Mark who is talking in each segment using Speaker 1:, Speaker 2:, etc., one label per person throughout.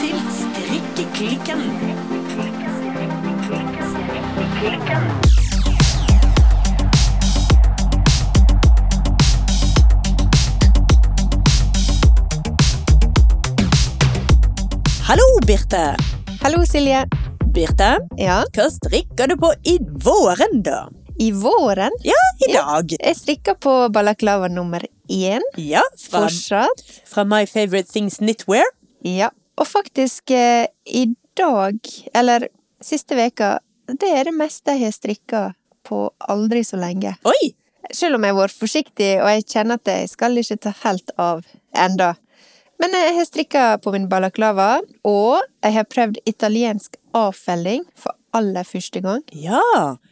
Speaker 1: til Strikkeklikken. Hallo, Birte.
Speaker 2: Hallo, Silje.
Speaker 1: Birte,
Speaker 2: Ja,
Speaker 1: hva strikker du på i våren, da?
Speaker 2: i våren
Speaker 1: I dag.
Speaker 2: Jeg strikker på balaklava nummer én
Speaker 1: Ja, fra,
Speaker 2: fortsatt.
Speaker 1: fra My Favorite Things Knitwear.
Speaker 2: Ja. Og faktisk, eh, i dag, eller siste veka, det er det meste jeg har strikka på aldri så lenge.
Speaker 1: Oi!
Speaker 2: Selv om jeg har vært forsiktig, og jeg kjenner at jeg skal ikke ta helt av enda. Men eh, jeg har strikka på min balaklava, og jeg har prøvd italiensk avfelling for aller første gang.
Speaker 1: Ja.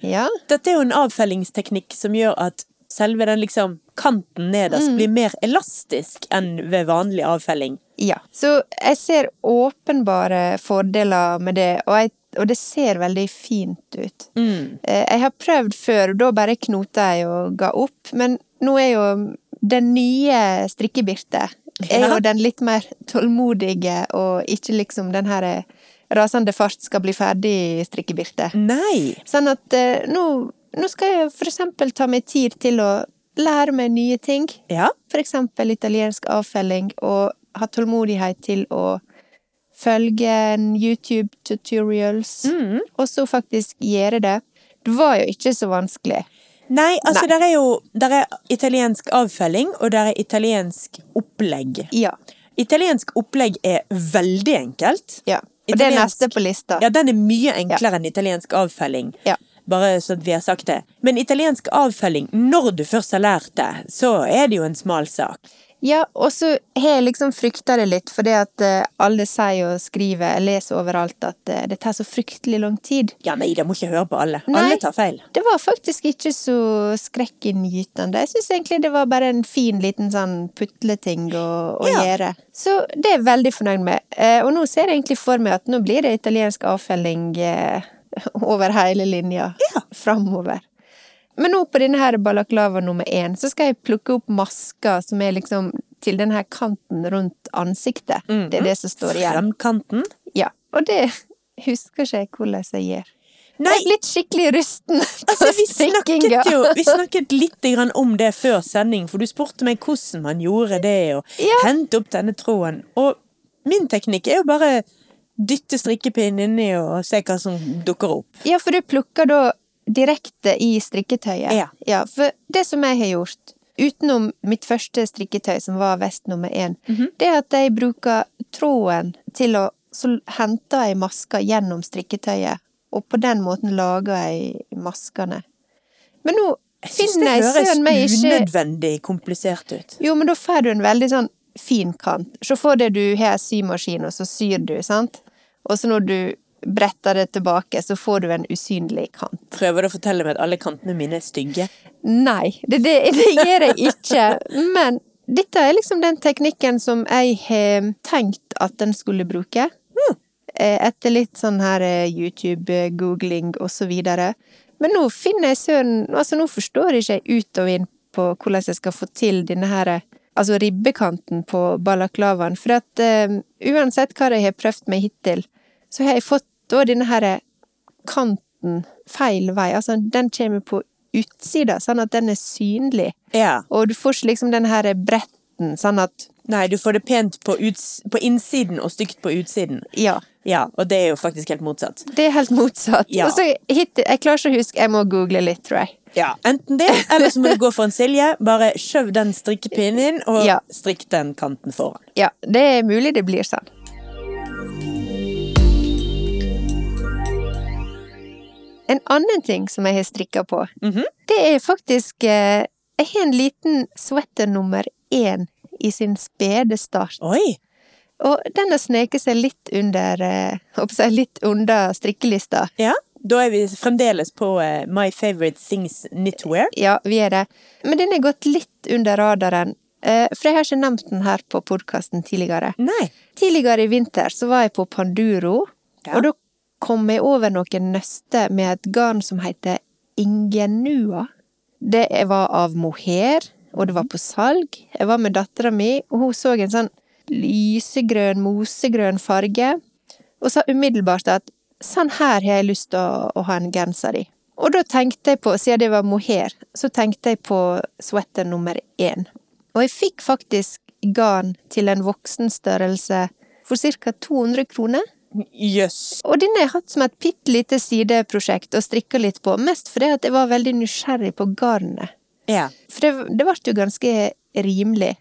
Speaker 2: Ja.
Speaker 1: Dette er jo en avfellingsteknikk som gjør at selve den liksom kanten nederst
Speaker 2: Mm.
Speaker 1: blir mer elastisk enn ved vanlig avfelling.
Speaker 2: Ja. Så jeg ser åpenbare fordeler med det, og, jeg, og det ser veldig fint ut. Eh, Jeg har prøvd før, og da bare knota jeg og ga opp, men nå er jo den nye strikkebirte er
Speaker 1: Ja.
Speaker 2: jo den litt mer tålmodige, og ikke liksom den her eh, rasende fart skal bli ferdig strikkebirte.
Speaker 1: Nei!
Speaker 2: Sånn at eh, nå, nå skal jeg for eksempel ta meg tid til å lære meg nye ting.
Speaker 1: Ja.
Speaker 2: For eksempel italiensk avfelling, og ha tålmodighet til å følge en YouTube-tutorials,
Speaker 1: Mm.
Speaker 2: og så faktisk gjøre det. Det var jo ikke så vanskelig.
Speaker 1: Nei, altså der er jo der er italiensk avfelling, og der er italiensk opplegg.
Speaker 2: Ja.
Speaker 1: Italiensk opplegg er veldig enkelt.
Speaker 2: ja. Og det er
Speaker 1: Italiensk-
Speaker 2: neste på lista.
Speaker 1: Ja, den er mye enklere enn italiensk avfelling.
Speaker 2: Ja.
Speaker 1: Bare så at vi har sagt det. Men italiensk avfelling, når du først har lært det, så er det jo en smal sak.
Speaker 2: Ja, og så har jeg liksom frykta det litt, fordi at eh, alle sier og skriver, jeg leser overalt, at eh, det tar så fryktelig lang tid.
Speaker 1: Ja, nei, det må ikke høre på alle.
Speaker 2: Nei.
Speaker 1: Alle tar feil.
Speaker 2: Det var faktisk ikke så skrekkinngytende. Jeg syns egentlig det var bare en fin liten sånn putleting å, å
Speaker 1: Ja.
Speaker 2: gjøre. Så det er jeg veldig fornøyd med. Eh, og nå ser jeg egentlig for meg at nå blir det italiensk avfelling eh, over hele linja
Speaker 1: Ja.
Speaker 2: framover. Men nå på denne her balaklava nummer én, så skal jeg plukke opp masker som er liksom til den her kanten rundt ansiktet.
Speaker 1: Mhm.
Speaker 2: Det er det som står igjen.
Speaker 1: Fremkanten.
Speaker 2: Ja. Og det husker ikke jeg hvordan jeg gjør.
Speaker 1: Nei,
Speaker 2: Jeg er blitt skikkelig rusten på
Speaker 1: altså, vi
Speaker 2: strikkinga.
Speaker 1: snakket jo vi snakket litt grann om det før sending, for du spurte meg hvordan man gjorde det, og
Speaker 2: Ja.
Speaker 1: hente opp denne tråden. Og min teknikk er jo bare dytte strikkepinnen inni og se hva som dukker opp.
Speaker 2: Ja, for du plukker da direkte i strikketøyet.
Speaker 1: Ja.
Speaker 2: For det som jeg har gjort, utenom mitt første strikketøy, som var vest nummer én,
Speaker 1: Mhm.
Speaker 2: det er at jeg bruker tråden til å Så henter jeg masker gjennom strikketøyet, og på den måten lager jeg maskene. Men nå
Speaker 1: Jeg synes
Speaker 2: finner jeg søren meg
Speaker 1: høres
Speaker 2: ikke
Speaker 1: unødvendig komplisert ut.
Speaker 2: Jo, men da får du en veldig sånn fin kant. Se for deg du har en symaskin, og så syr du, sant? Og så når du bretter det tilbake, så får du en usynlig kant.
Speaker 1: Prøver du å fortelle meg at alle kantene mine er stygge?
Speaker 2: Nei, det, det, det gjør jeg ikke. Men dette er liksom den teknikken som jeg har tenkt at den skulle bruke. Eh, Etter litt sånn her eh, YouTube-googling og så videre. Men nå finner jeg søren Altså, nå forstår ikke jeg ut og inn på hvordan jeg skal få til denne her eh, Altså ribbekanten på balaklavaen. For at eh, uansett hva jeg har prøvd meg hittil, så har jeg fått da denne her eh, kanten feil vei. Altså, den kommer på utsida, sånn at den er synlig.
Speaker 1: Ja.
Speaker 2: Og du får ikke liksom den her bretten, sånn at
Speaker 1: Nei, du får det pent på, uts på innsiden og stygt på utsiden.
Speaker 2: Ja.
Speaker 1: Ja, og det er jo faktisk helt motsatt.
Speaker 2: Det er helt motsatt.
Speaker 1: Ja.
Speaker 2: Og så hittil, jeg klarer ikke å huske, jeg må google litt, tror jeg.
Speaker 1: Ja, Enten det, eller så må du gå for en Silje. Bare skjøv den strikkepinnen inn, og
Speaker 2: Ja.
Speaker 1: strikk den kanten foran.
Speaker 2: Ja, det er mulig det blir sånn. En annen ting som jeg har strikka på, det er faktisk eh, Jeg har en liten sweater nummer én i sin spede start.
Speaker 1: Oi!
Speaker 2: Og den har sneket seg litt under eh, håper jeg, litt under strikkelista.
Speaker 1: Ja, da er vi fremdeles på eh, My Favorite Things Knitwear.
Speaker 2: Ja, vi er det. Men den har gått litt under radaren. eh, For jeg har ikke nevnt den her på podkasten tidligere.
Speaker 1: Nei.
Speaker 2: Tidligere i vinter så var jeg på Panduro,
Speaker 1: Ja.
Speaker 2: og da kom jeg over noen nøster med et garn som heter Ingenua. Det var av mohair, og det var på salg. Jeg var med dattera mi, og hun så en sånn lysegrønn, mosegrønn farge, og sa umiddelbart at sånn her har jeg lyst til å, å ha en genser i. Og da tenkte jeg på, siden det var mohair, så tenkte jeg på sweater nummer én. Og jeg fikk faktisk garn til en voksenstørrelse for ca. 200 kroner.
Speaker 1: Jøss.
Speaker 2: Og den har jeg hatt som et bitte lite sideprosjekt og strikka litt på, mest fordi at jeg var veldig nysgjerrig på garnet.
Speaker 1: Ja.
Speaker 2: For det, det ble jo ganske rimelig.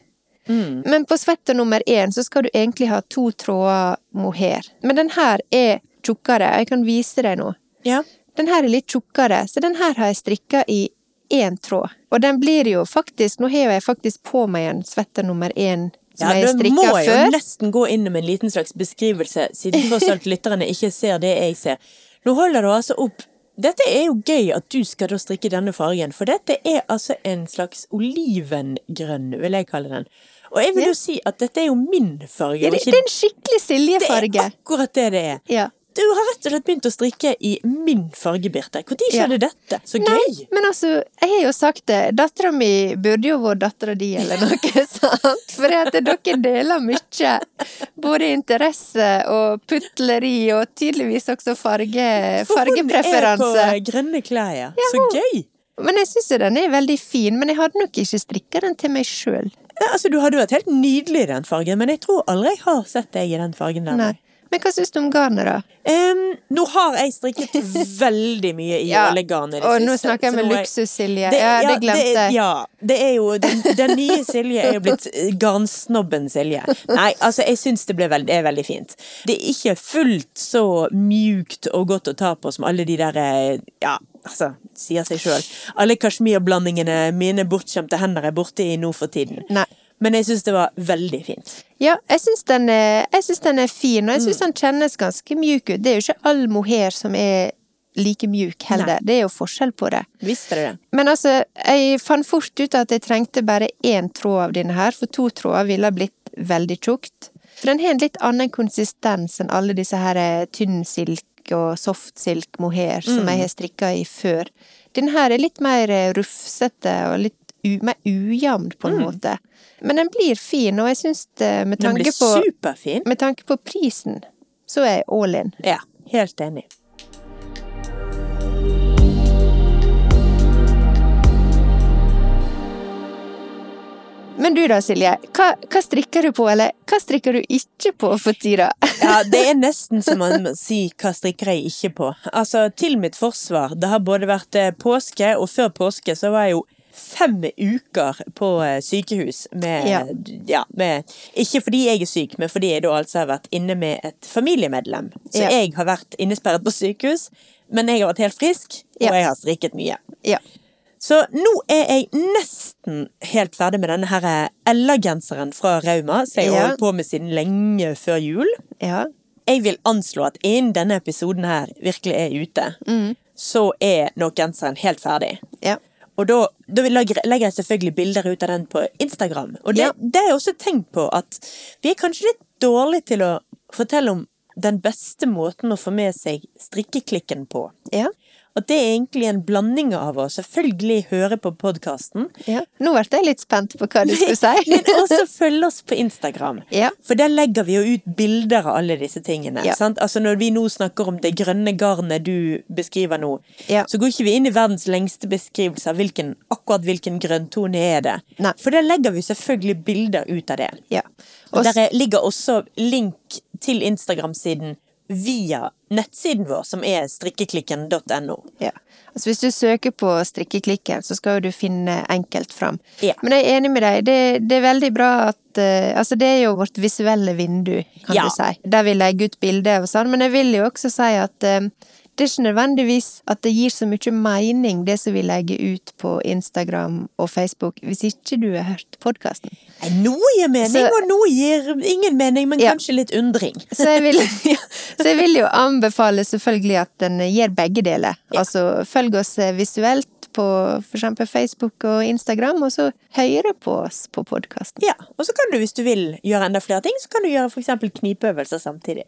Speaker 1: Mm.
Speaker 2: Men på sweater nummer én så skal du egentlig ha to tråder mohair. Men den her er tjukkere. Jeg kan vise deg nå.
Speaker 1: ja.
Speaker 2: Den her er litt tjukkere, så den her har jeg strikka i én tråd. Og den blir jo faktisk Nå har jeg faktisk på meg en sweater nummer én som
Speaker 1: Ja,
Speaker 2: jeg
Speaker 1: du må
Speaker 2: strikka
Speaker 1: jo
Speaker 2: før.
Speaker 1: nesten gå inn med en liten slags beskrivelse, siden tross alt lytterne ikke ser det jeg ser. Nå holder du altså opp Dette er jo gøy at du skal da strikke denne fargen, for dette er altså en slags olivengrønn, vil jeg kalle den. Og jeg vil jo si at dette er jo min farge,
Speaker 2: Ja,
Speaker 1: og
Speaker 2: det,
Speaker 1: ikke
Speaker 2: det er en skikkelig
Speaker 1: det er
Speaker 2: Silje-farge.
Speaker 1: akkurat det det er.
Speaker 2: Ja.
Speaker 1: Du har rett og slett begynt å strikke i min farge, Birte. Når skjedde dette? Så gøy!
Speaker 2: Nei, men altså, jeg har jo sagt det. Dattera mi burde jo vært dattera di, eller noe sånt. For at dere deler mye. Både interesse og putleri, og tydeligvis også farge,
Speaker 1: For hun er på
Speaker 2: fargepreferanse.
Speaker 1: grønne klær, ja. Så gøy!
Speaker 2: Men jeg syns jo den er veldig fin, men jeg hadde nok ikke strikka den til meg sjøl.
Speaker 1: Ja, altså, du hadde vært helt nydelig i den fargen, men jeg tror aldri jeg har sett deg i den fargen. der. nei.
Speaker 2: Men hva syns du om garnet, da?
Speaker 1: Em, nå har jeg strikket veldig mye i
Speaker 2: Ja,
Speaker 1: ålegarn i det
Speaker 2: Og nå
Speaker 1: siste,
Speaker 2: snakker
Speaker 1: så
Speaker 2: jeg
Speaker 1: nå
Speaker 2: med
Speaker 1: er-
Speaker 2: luksus, Silje. Ja, det glemte
Speaker 1: det-
Speaker 2: jeg.
Speaker 1: Ja, det er jo Den, den nye Silje er jo blitt eh, garnsnobben Silje. Nei, altså, jeg syns det ble veld, det er veldig fint. Det er ikke fullt så mjukt og godt å ta på som alle de der eh, Ja, altså, sier seg sjøl. Alle kasjmirblandingene mine bortskjemte hender er borte i nå for tiden.
Speaker 2: Nei.
Speaker 1: Men jeg syns det var veldig fint.
Speaker 2: Ja, jeg syns den, er- jeg syns den er fin, og jeg syns den kjennes ganske mjuk ut. Det er jo ikke all mohair som er like mjuk heller. Det er jo forskjell på det.
Speaker 1: Visste dere det?
Speaker 2: Men altså, jeg fant fort ut at jeg trengte bare én tråd av denne her, for to tråder ville ha blitt veldig tjukt. For den har en litt annen konsistens enn alle disse her eh, tynn silk og soft silk mohair som jeg har strikka i før. Den her er litt mer eh, rufsete og litt u mer ujevn, på en måte. Men den blir fin, og jeg syns det, med
Speaker 1: Den ble
Speaker 2: tanke på
Speaker 1: superfin.
Speaker 2: med tanke på prisen, så er jeg all in.
Speaker 1: Ja, helt enig.
Speaker 2: Men du da, Silje, hva, hva strikker du på, eller hva strikker du ikke på for tida?
Speaker 1: Ja, det er nesten som man må si hva strikker jeg ikke på. Altså, til mitt forsvar, det har både vært eh, påske, og før påske så var jeg jo fem uker på eh, sykehus med
Speaker 2: Ja.
Speaker 1: ja. med, Ikke fordi jeg er syk, men fordi jeg da altså har vært inne med et familiemedlem. Så
Speaker 2: Ja.
Speaker 1: jeg har vært innesperret på sykehus, men jeg har vært helt frisk, og
Speaker 2: Ja.
Speaker 1: jeg har strikket mye.
Speaker 2: Ja.
Speaker 1: Så nå er jeg nesten helt ferdig med denne her Ella-genseren fra Rauma, som jeg har
Speaker 2: Ja.
Speaker 1: holdt på med siden lenge før jul.
Speaker 2: ja.
Speaker 1: Jeg vil anslå at innen denne episoden her virkelig er ute,
Speaker 2: Mm.
Speaker 1: så er nok genseren helt ferdig.
Speaker 2: Ja.
Speaker 1: Og da, da vil- legger legger jeg selvfølgelig bilder ut av den på Instagram. Og det,
Speaker 2: Ja.
Speaker 1: det har jeg også tenkt på, at vi er kanskje litt dårlige til å fortelle om den beste måten å få med seg strikkeklikken på.
Speaker 2: ja.
Speaker 1: At det er egentlig en blanding av å selvfølgelig høre på podkasten,
Speaker 2: ja. Nå ble jeg litt spent på hva du skulle si.
Speaker 1: men også følg oss på Instagram.
Speaker 2: Ja.
Speaker 1: For der legger vi jo ut bilder av alle disse tingene.
Speaker 2: Ja.
Speaker 1: Sant? Altså Når vi nå snakker om det grønne garnet du beskriver nå,
Speaker 2: Ja.
Speaker 1: så går ikke vi inn i verdens lengste beskrivelse av hvilken, akkurat hvilken grønntone er det.
Speaker 2: Nei.
Speaker 1: For der legger vi selvfølgelig bilder ut av det.
Speaker 2: Ja.
Speaker 1: Og
Speaker 2: Og, s-
Speaker 1: der er- ligger også link til Instagram-siden via nettsiden vår, som er strikkeklikken.no.
Speaker 2: ja. altså, hvis du søker på strikkeklikken, så skal jo du finne enkelt fram.
Speaker 1: Ja.
Speaker 2: Men jeg er enig med deg. Det, det er veldig bra at eh, Altså, det er jo vårt visuelle vindu, kan
Speaker 1: Ja.
Speaker 2: du si. Der vi legger ut bilder og sånn. Men jeg vil jo også si at eh, det er ikke nødvendigvis at det gir så mye mening, det som vi legger ut på Instagram og Facebook, hvis ikke du har hørt podkasten.
Speaker 1: Nei, Noe gir mening,
Speaker 2: Så-
Speaker 1: og noe gir ingen mening, men
Speaker 2: Ja.
Speaker 1: kanskje litt undring.
Speaker 2: Så jeg, vil, ja, så jeg vil jo anbefale selvfølgelig at den gjør begge deler. Altså følg oss visuelt på for eksempel Facebook og Instagram, og så høre på oss på podkasten.
Speaker 1: Ja, og så kan du, hvis du vil gjøre enda flere ting, så kan du gjøre for eksempel knipeøvelser samtidig.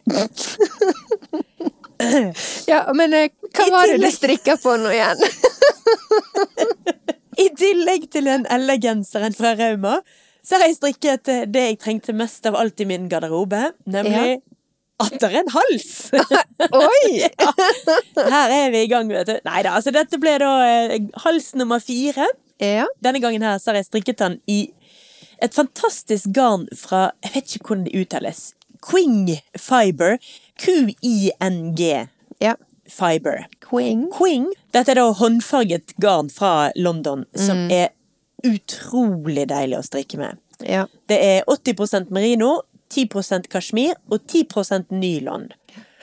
Speaker 2: Ja, men eh, hva
Speaker 1: I
Speaker 2: var det du
Speaker 1: tillegg-
Speaker 2: strikka på nå igjen?
Speaker 1: I tillegg til en L-genseren fra Rauma, Så har jeg strikket eh, det jeg trengte mest av alt i min garderobe, nemlig atter en hals!
Speaker 2: Oi!
Speaker 1: Her er vi i gang, vet du. Nei da, altså dette ble da eh, hals nummer fire.
Speaker 2: Ja.
Speaker 1: Denne gangen her så har jeg strikket den i et fantastisk garn fra Jeg vet ikke hvordan det uttales. Quing Fiber. Q-i-n-g
Speaker 2: ja.
Speaker 1: Fiber.
Speaker 2: Queen.
Speaker 1: Quing. Dette er da håndfarget garn fra London, som er utrolig deilig å strikke med.
Speaker 2: Ja.
Speaker 1: Det er 80 merino, 10 kasjmir og 10 nylon.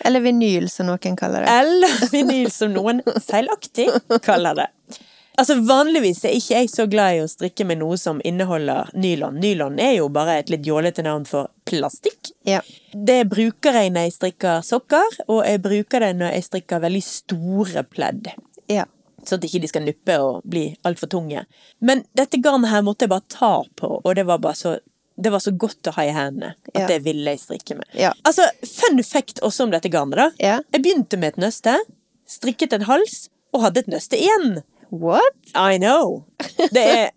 Speaker 2: Eller vinyl, som noen kaller det.
Speaker 1: Eller vinyl, som noen feilaktig kaller det. Altså Vanligvis er ikke jeg så glad i å strikke med noe som inneholder nylon. Nylon er jo bare et litt jålete navn for plastikk.
Speaker 2: Ja.
Speaker 1: Det bruker jeg når jeg strikker sokker, og jeg bruker det når jeg strikker veldig store pledd.
Speaker 2: ja.
Speaker 1: Sånn at ikke de skal nuppe og bli altfor tunge. Men dette garnet her måtte jeg bare ta på, og det var bare så det var så godt å ha i hendene at
Speaker 2: Ja.
Speaker 1: det ville jeg strikke med.
Speaker 2: Ja.
Speaker 1: Altså, Fun fact også om dette garnet. da.
Speaker 2: Ja.
Speaker 1: Jeg begynte med et nøste, strikket en hals og hadde et nøste igjen.
Speaker 2: What?
Speaker 1: I know! Det er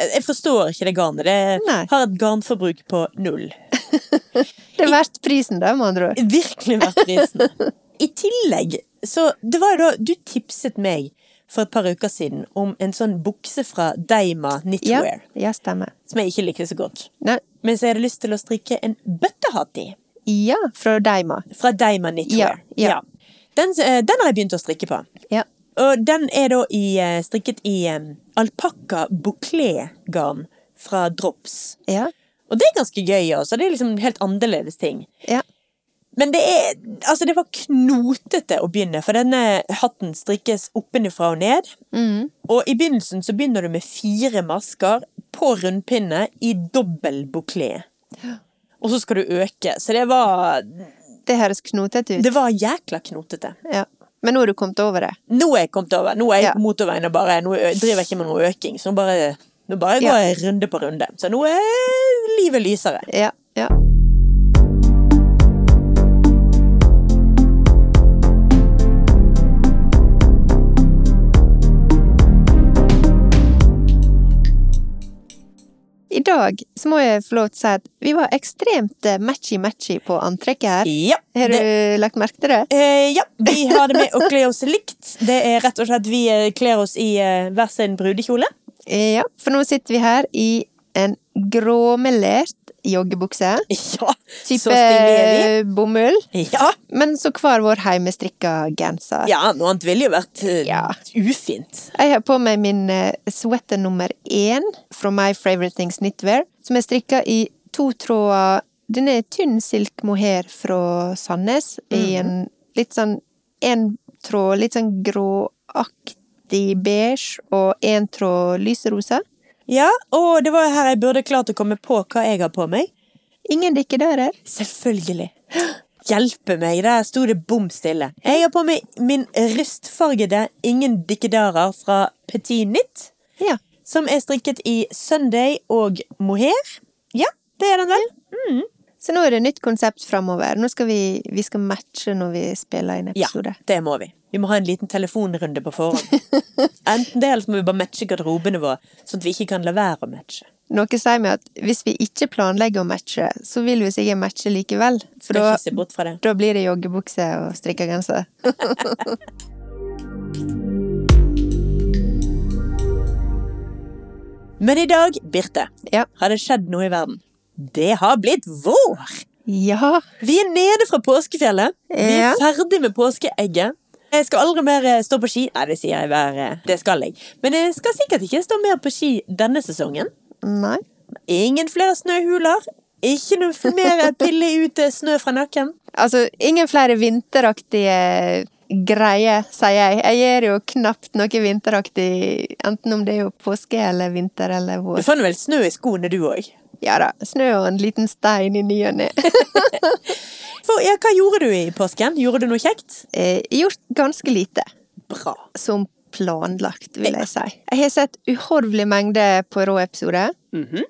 Speaker 1: Jeg jeg forstår ikke det garnet. Det
Speaker 2: Nei.
Speaker 1: har et garnforbruk på null.
Speaker 2: Det er verdt prisen, da, med andre ord.
Speaker 1: Virkelig verdt prisen. I tillegg, så det var jo da Du tipset meg for et par uker siden om en sånn bukse fra Deima
Speaker 2: Ja.
Speaker 1: Knitwear,
Speaker 2: ja, stemmer.
Speaker 1: som jeg ikke likte så godt.
Speaker 2: Nei.
Speaker 1: Men så jeg hadde lyst til å strikke en bøttehatt i,
Speaker 2: Ja, fra Deima.
Speaker 1: fra Deima Knitwear.
Speaker 2: Ja, ja.
Speaker 1: Den, eh, den har jeg begynt å strikke på.
Speaker 2: Ja.
Speaker 1: Og den er da i, eh, strikket i eh, alpakka bouclé-garn fra Drops.
Speaker 2: Ja.
Speaker 1: Og det er ganske gøy også, det er liksom helt annerledes ting.
Speaker 2: Ja.
Speaker 1: Men det er Altså, det var knotete å begynne, for denne hatten strikkes oppenifra og ned.
Speaker 2: Mm.
Speaker 1: Og i begynnelsen så begynner du med fire masker på rundpinne i dobbel bouclé. Og så skal du øke. Så det var
Speaker 2: Det høres knotete ut.
Speaker 1: Det var jækla knotete.
Speaker 2: Ja. Men nå har du kommet over det.
Speaker 1: Nå er jeg kommet over. Nå er jeg
Speaker 2: Ja.
Speaker 1: på motorveien og bare Nå ø- driver jeg ikke med noe øking. Så nå bare, nå bare går
Speaker 2: Ja.
Speaker 1: jeg runde på runde. Så nå er livet lysere.
Speaker 2: Ja. ja. I dag så må jeg få lov til å si at vi var ekstremt eh, matchy-matchy på antrekket her.
Speaker 1: Ja.
Speaker 2: Har du
Speaker 1: det-
Speaker 2: lagt merke til det?
Speaker 1: Eh, ja, vi har det med å kle oss likt. Det er rett og slett vi eh, kler oss i eh, hver sin brudekjole.
Speaker 2: Ja, for nå sitter vi her i en gråmelert joggebukse.
Speaker 1: Ja, så
Speaker 2: Type
Speaker 1: stilige er
Speaker 2: bomull.
Speaker 1: vi. Ja.
Speaker 2: Men så hver vår heimestrikka genser.
Speaker 1: ja, noe annet ville jo vært eh,
Speaker 2: Ja.
Speaker 1: ufint.
Speaker 2: Jeg har på meg min eh, sweater nummer én fra My Favorite Things Knitwear, som er strikka i to tråder. Den er tynn silk mohair fra Sandnes,
Speaker 1: Mhm.
Speaker 2: i en litt sånn én tråd litt sånn gråaktig beige, og én tråd lyserosa.
Speaker 1: Ja, og det var her jeg burde klart å komme på hva jeg har på meg.
Speaker 2: Ingen dikkedører.
Speaker 1: Selvfølgelig. Hjelpe meg, der sto det bom stille. Jeg har på meg min rustfargede Ingen dikkedarer fra Petit Nytt,
Speaker 2: Ja.
Speaker 1: som er strikket i Sunday og mohair. Ja, det er den vel?
Speaker 2: Så nå er det nytt konsept framover. Nå skal vi, vi skal matche når vi spiller inn
Speaker 1: Ja,
Speaker 2: episode.
Speaker 1: det må vi. Vi må ha en liten telefonrunde på forhånd. Enten det, eller så må vi bare matche garderobene våre, sånn at vi ikke kan la være å matche.
Speaker 2: Noe sier meg at hvis vi ikke planlegger å matche, så vil vi sikkert matche likevel. For
Speaker 1: Skal
Speaker 2: da,
Speaker 1: ikke se bort fra det.
Speaker 2: da blir det joggebukse og strikka genser.
Speaker 1: Men i dag, Birte,
Speaker 2: Ja.
Speaker 1: har det skjedd noe i verden. Det har blitt vår!
Speaker 2: Ja.
Speaker 1: Vi er nede fra påskefjellet. Vi
Speaker 2: Ja.
Speaker 1: er ferdig med påskeegget. Jeg skal aldri mer eh, stå på ski. Nei, det sier jeg hver eh, Det skal jeg. Men jeg skal sikkert ikke stå mer på ski denne sesongen.
Speaker 2: Nei.
Speaker 1: Ingen flere snøhuler. Ikke noe mer pille ute snø fra nakken.
Speaker 2: Altså, ingen flere vinteraktige greier, sier jeg. Jeg gjør jo knapt noe vinteraktig, enten om det er jo påske eller vinter eller
Speaker 1: Du
Speaker 2: vår.
Speaker 1: fant vel snø i skoene, du òg?
Speaker 2: Ja da. Snø og en liten stein i ny og ne.
Speaker 1: For, ja, hva gjorde du i påsken? Gjorde du noe kjekt?
Speaker 2: Eh, Gjort ganske lite.
Speaker 1: Bra.
Speaker 2: som planlagt, vil jeg si. Jeg har sett uhorvelig mengde på Rå-episoder.
Speaker 1: Mhm.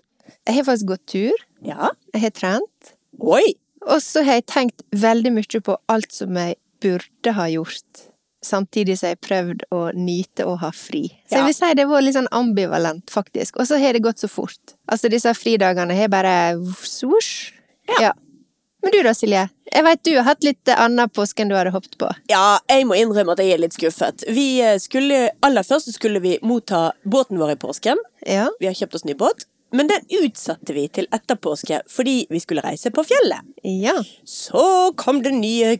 Speaker 2: Jeg har faktisk gått tur.
Speaker 1: Ja.
Speaker 2: Jeg har trent.
Speaker 1: Oi!
Speaker 2: Og så har jeg tenkt veldig mye på alt som jeg burde ha gjort samtidig som jeg har prøvd å nyte å ha fri. Så
Speaker 1: Ja.
Speaker 2: jeg vil si det var litt sånn ambivalent, faktisk. Og så har det gått så fort. Altså, disse fridagene har bare svosj. Ja. Men du da, Silje? Jeg veit du har hatt litt annen påske enn du hadde håpet på.
Speaker 1: Ja, jeg må innrømme at jeg er litt skuffet. Vi eh, skulle, aller først så skulle vi motta båten vår i påsken.
Speaker 2: Ja.
Speaker 1: Vi har kjøpt oss ny båt. Men den utsatte vi til etter påske fordi vi skulle reise på fjellet.
Speaker 2: Ja.
Speaker 1: Så kom det nye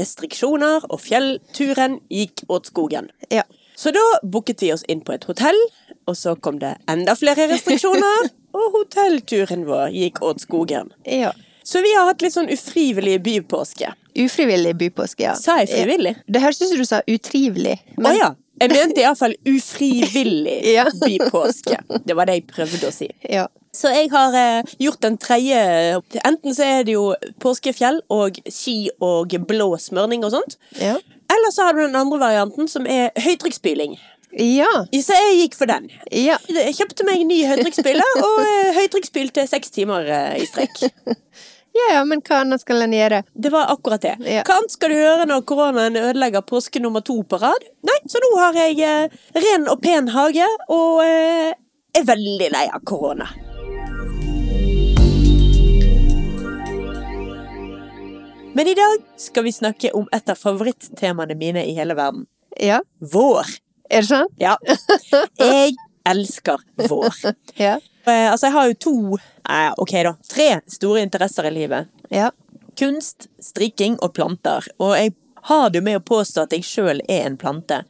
Speaker 1: restriksjoner, og fjellturen gikk åt skogen.
Speaker 2: ja.
Speaker 1: Så da booket vi oss inn på et hotell, og så kom det enda flere restriksjoner, og hotellturen vår gikk åt skogen.
Speaker 2: ja.
Speaker 1: Så vi har hatt litt sånn ufrivillige bypåske.
Speaker 2: Ufrivillig bypåske, ja.
Speaker 1: Sa jeg frivillig?
Speaker 2: Det høres ut som du sa utrivelig.
Speaker 1: Å ja. Jeg mente iallfall ufrivillig
Speaker 2: Ja.
Speaker 1: bypåske. Det var det jeg prøvde å si.
Speaker 2: ja.
Speaker 1: Så jeg har eh, gjort den tredje eh, Enten så er det jo påskefjell og ski og blå smørning og sånt.
Speaker 2: Ja.
Speaker 1: Eller så har du den andre varianten, som er høytrykksspyling.
Speaker 2: Ja.
Speaker 1: Så jeg gikk for den.
Speaker 2: ja.
Speaker 1: Jeg kjøpte meg en ny høytrykksspyler, og eh, høytrykksspylte seks timer eh, i strekk.
Speaker 2: Ja, ja, men hva annet skal en gjøre?
Speaker 1: Det var akkurat det.
Speaker 2: Ja.
Speaker 1: Hva annet skal du høre når koronaen ødelegger påske nummer to på rad? Nei, så nå har jeg eh, ren og pen hage, og eh, er veldig lei av korona. Men i dag skal vi snakke om et av favorittemaene mine i hele verden.
Speaker 2: Ja,
Speaker 1: Vår.
Speaker 2: er det sant?
Speaker 1: Ja. Jeg elsker vår.
Speaker 2: Ja.
Speaker 1: Eh, altså, jeg har jo to eh, Ok, da. Tre store interesser i livet.
Speaker 2: Ja.
Speaker 1: Kunst, strikking og planter. Og jeg har det jo med å påstå at jeg sjøl er en plante.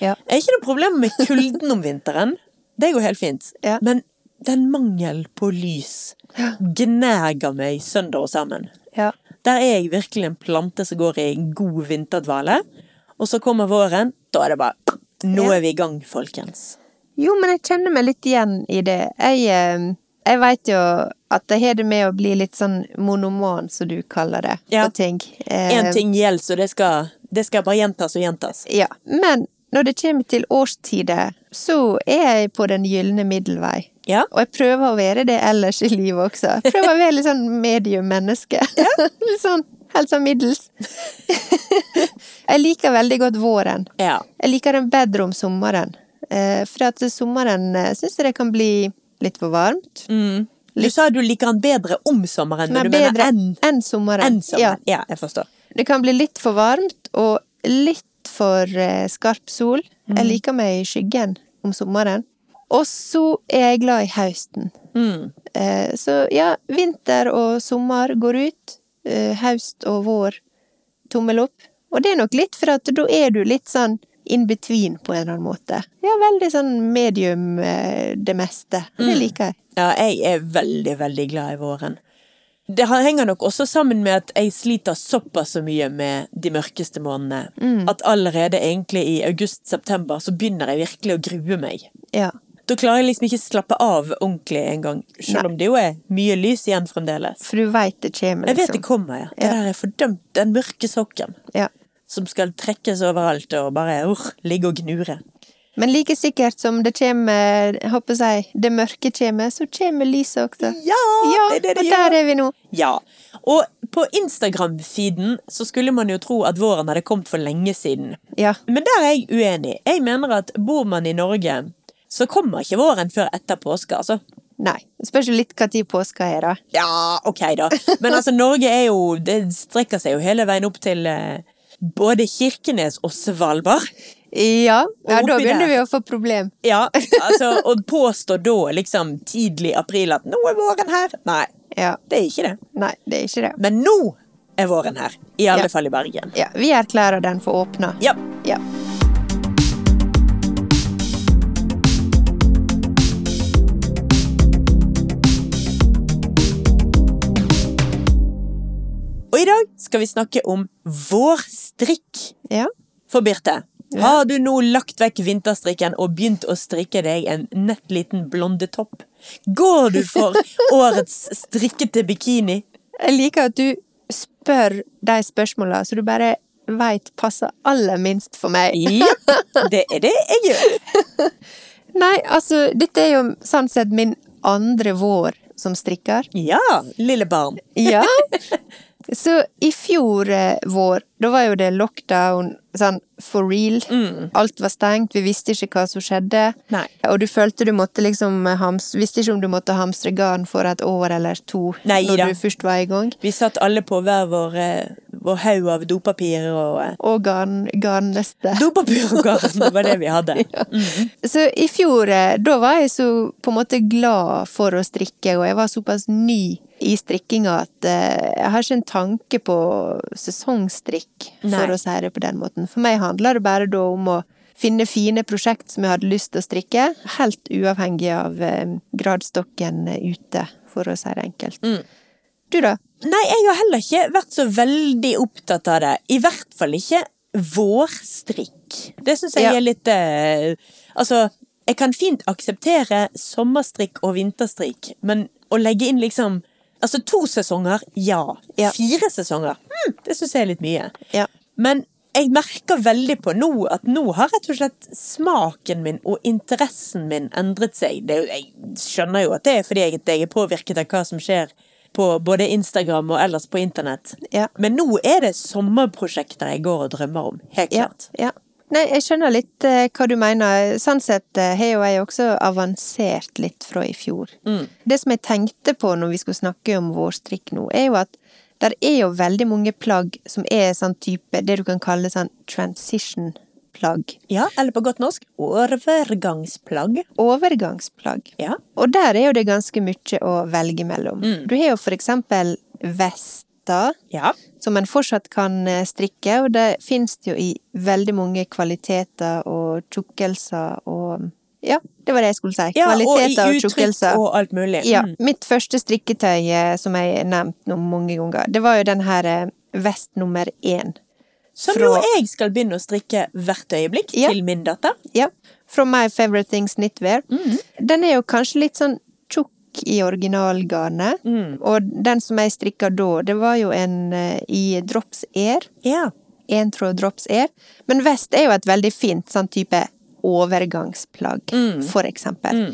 Speaker 2: Ja.
Speaker 1: Jeg har ikke noe problem med kulden om vinteren. Det går helt fint.
Speaker 2: Ja.
Speaker 1: Men den mangel på lys gnager meg sønder og sammen.
Speaker 2: Ja.
Speaker 1: Der er jeg virkelig en plante som går i god vinterdvale. Og så kommer våren, da er det bare Nå
Speaker 2: Ja.
Speaker 1: er vi i gang, folkens.
Speaker 2: Jo, men jeg kjenner meg litt igjen i det. Jeg, eh, jeg veit jo at jeg har det med å bli litt sånn monoman, som du kaller det,
Speaker 1: Ja.
Speaker 2: på ting. Eh,
Speaker 1: Én ting gjelder, så det skal, det skal bare gjentas og gjentas.
Speaker 2: Ja. Men når det kommer til årstider, så er jeg på den gylne middelvei.
Speaker 1: Ja.
Speaker 2: Og jeg prøver å være det ellers i livet også. Jeg Prøver å være litt sånn medium-menneske. litt sånn helt sånn middels. jeg liker veldig godt våren.
Speaker 1: Ja.
Speaker 2: Jeg liker den bedre om sommeren. Eh, for at sommeren eh, syns jeg det kan bli litt for varmt.
Speaker 1: Mm. Du sa du liker den bedre om sommeren, men
Speaker 2: Men
Speaker 1: du mener
Speaker 2: bedre
Speaker 1: enn
Speaker 2: enn sommeren.
Speaker 1: enn sommeren. Ja. jeg forstår.
Speaker 2: Ja, det kan bli litt for varmt og litt for eh, skarp sol.
Speaker 1: Mm.
Speaker 2: Jeg liker meg i skyggen om sommeren. Og så er jeg glad i høsten.
Speaker 1: Mm.
Speaker 2: Eh, så ja, vinter og sommer går ut. Eh, høst og vår, tommel opp. Og det er nok litt for at da er du litt sånn in between på en eller annen måte. Ja, veldig sånn medium eh, det meste. Det
Speaker 1: Mm.
Speaker 2: liker jeg.
Speaker 1: Ja, jeg er veldig, veldig glad i våren. Det har- henger nok også sammen med at jeg sliter såpass så mye med de mørkeste månedene. At allerede egentlig i august-september så begynner jeg virkelig å grue meg.
Speaker 2: Ja.
Speaker 1: Da klarer jeg liksom ikke slappe av ordentlig engang, selv om det jo er mye lys igjen fremdeles.
Speaker 2: For du veit det kommer,
Speaker 1: Jeg vet
Speaker 2: liksom.
Speaker 1: det kommer, ja. Det
Speaker 2: Ja.
Speaker 1: der er fordømt, den mørke sokken.
Speaker 2: Ja.
Speaker 1: Som skal trekkes overalt og bare uh, ligge og gnure.
Speaker 2: Men like sikkert som det kommer, jeg håper jeg, det mørke kommer, så kommer lyset også.
Speaker 1: Ja, det er det det
Speaker 2: og
Speaker 1: gjør.
Speaker 2: der er vi nå.
Speaker 1: Ja. Og på Instagram-feeden så skulle man jo tro at våren hadde kommet for lenge siden.
Speaker 2: Ja.
Speaker 1: Men der er jeg uenig. Jeg mener at bor man i Norge, så kommer ikke våren før etter påske, altså.
Speaker 2: Nei. Det spørs jo litt når påska er, da.
Speaker 1: Ja, ok da. Men altså, Norge er jo Det strekker seg jo hele veien opp til eh, både Kirkenes og Svalbard.
Speaker 2: Ja, ja da
Speaker 1: oppi der.
Speaker 2: begynner vi å få problem.
Speaker 1: Ja, altså, og påstå da, liksom tidlig i april, at 'nå er våren her'. Nei,
Speaker 2: Ja.
Speaker 1: det er ikke det.
Speaker 2: Nei, det er ikke det.
Speaker 1: Men nå er våren her. I alle
Speaker 2: Ja.
Speaker 1: fall i Bergen.
Speaker 2: Ja, vi erklærer den for åpna.
Speaker 1: Ja.
Speaker 2: Ja.
Speaker 1: Og i dag skal vi snakke om vårstrikk.
Speaker 2: Ja.
Speaker 1: For Birte, har du nå lagt vekk vinterstrikken og begynt å strikke deg en nett liten blondetopp? Går du for årets strikkete bikini?
Speaker 2: Jeg liker at du spør de spørsmåla så du bare veit passer aller minst for meg.
Speaker 1: Ja, det er det jeg gjør.
Speaker 2: Nei, altså, dette er jo sånn sett min andre vår som strikker.
Speaker 1: Ja, lille barn.
Speaker 2: Ja. Så i fjor eh, vår, da var jo det lockdown, sånn for real. Alt var stengt, vi visste ikke hva som skjedde.
Speaker 1: Mm. Nei.
Speaker 2: Og du følte du måtte liksom hams, Visste ikke om du måtte hamstre garn for et år eller to
Speaker 1: Nei
Speaker 2: når
Speaker 1: da.
Speaker 2: du først var i gang.
Speaker 1: Vi satt alle på hver vår, eh, vår haug av dopapir og eh,
Speaker 2: Og garn, garnnøste.
Speaker 1: Dopapir og garn, det var det vi hadde.
Speaker 2: Så i fjor, eh, da var jeg så på en måte glad for å strikke, og jeg var såpass ny i strikkinga at eh, jeg har ikke en tanke på sesongstrikk,
Speaker 1: Nei.
Speaker 2: for å si det på den måten. For meg handler det bare da om å finne fine prosjekt som jeg hadde lyst til å strikke, helt uavhengig av eh, gradstokken ute, for å si det enkelt. Du da?
Speaker 1: Nei, jeg har heller ikke vært så veldig opptatt av det. I hvert fall ikke vårstrikk. Det syns jeg
Speaker 2: Ja.
Speaker 1: er litt eh, Altså, jeg kan fint akseptere sommerstrikk og vinterstrikk, men å legge inn liksom Altså to sesonger, ja.
Speaker 2: Ja.
Speaker 1: Fire sesonger, hm, det syns jeg er litt mye.
Speaker 2: Ja.
Speaker 1: Men jeg merker veldig på nå at nå har rett og slett smaken min og interessen min endret seg. Det, er jo- jeg skjønner jo at det er fordi jeg, jeg er påvirket av hva som skjer på både Instagram og ellers på internett.
Speaker 2: Ja.
Speaker 1: Men nå er det sommerprosjekter jeg går og drømmer om. Helt
Speaker 2: Ja,
Speaker 1: klart.
Speaker 2: ja. Nei, jeg skjønner litt eh, hva du mener. Sånn sett eh, har jo jeg også avansert litt fra i fjor. Det som jeg tenkte på når vi skulle snakke om vårstrikk nå, er jo at der er jo veldig mange plagg som er sånn type, det du kan kalle sånn transition-plagg.
Speaker 1: Ja, eller på godt norsk overgangsplagg.
Speaker 2: Overgangsplagg.
Speaker 1: Ja.
Speaker 2: Og der er jo det ganske mye å velge mellom. Du har jo for eksempel vester,
Speaker 1: Ja.
Speaker 2: som en fortsatt kan eh, strikke, og det finnes det jo i veldig mange kvaliteter og tjukkelser og Ja, det var det jeg skulle si.
Speaker 1: ja
Speaker 2: kvaliteter og, tjukkelser.
Speaker 1: og alt mulig.
Speaker 2: Ja.
Speaker 1: Mm.
Speaker 2: Mitt første strikketøy, eh, som jeg har nevnt nå mange ganger, det var jo den her eh, vest nummer én.
Speaker 1: Som
Speaker 2: Fra-
Speaker 1: jo jeg skal begynne å strikke hvert øyeblikk
Speaker 2: Ja.
Speaker 1: til min datter.
Speaker 2: Ja. Fra My Favorite Things Knitwear.
Speaker 1: Mm.
Speaker 2: Den er jo kanskje litt sånn tjukk i originalgarnet,
Speaker 1: Mm.
Speaker 2: og den som jeg strikka da, det var jo en eh, i Drops Air.
Speaker 1: Ja.
Speaker 2: én tråd drops er. Men vest er jo et veldig fint sånn type overgangsplagg, for eksempel.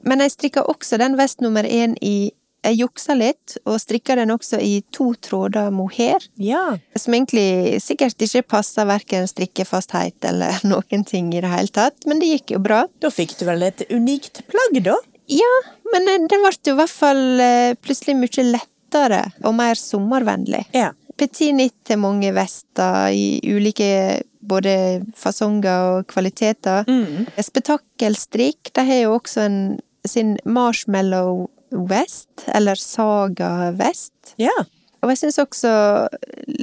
Speaker 2: Men jeg strikker også den vest nummer én i Jeg juksa litt, og strikker den også i to tråder mohair.
Speaker 1: Ja.
Speaker 2: Som egentlig sikkert ikke passer verken strikkefasthet eller noen ting i det hele tatt, men det gikk jo bra.
Speaker 1: Da fikk du vel et unikt plagg, da?
Speaker 2: Ja, men den den ble jo i hvert fall eh, plutselig mye lettere og mer sommervennlig.
Speaker 1: Ja.
Speaker 2: Petit nitt til mange vester i ulike både fasonger og kvaliteter.
Speaker 1: Mm.
Speaker 2: Spetakkelstrikk, de har jo også en, sin marshmallow vest, eller saga vest.
Speaker 1: Ja.
Speaker 2: Og jeg syns også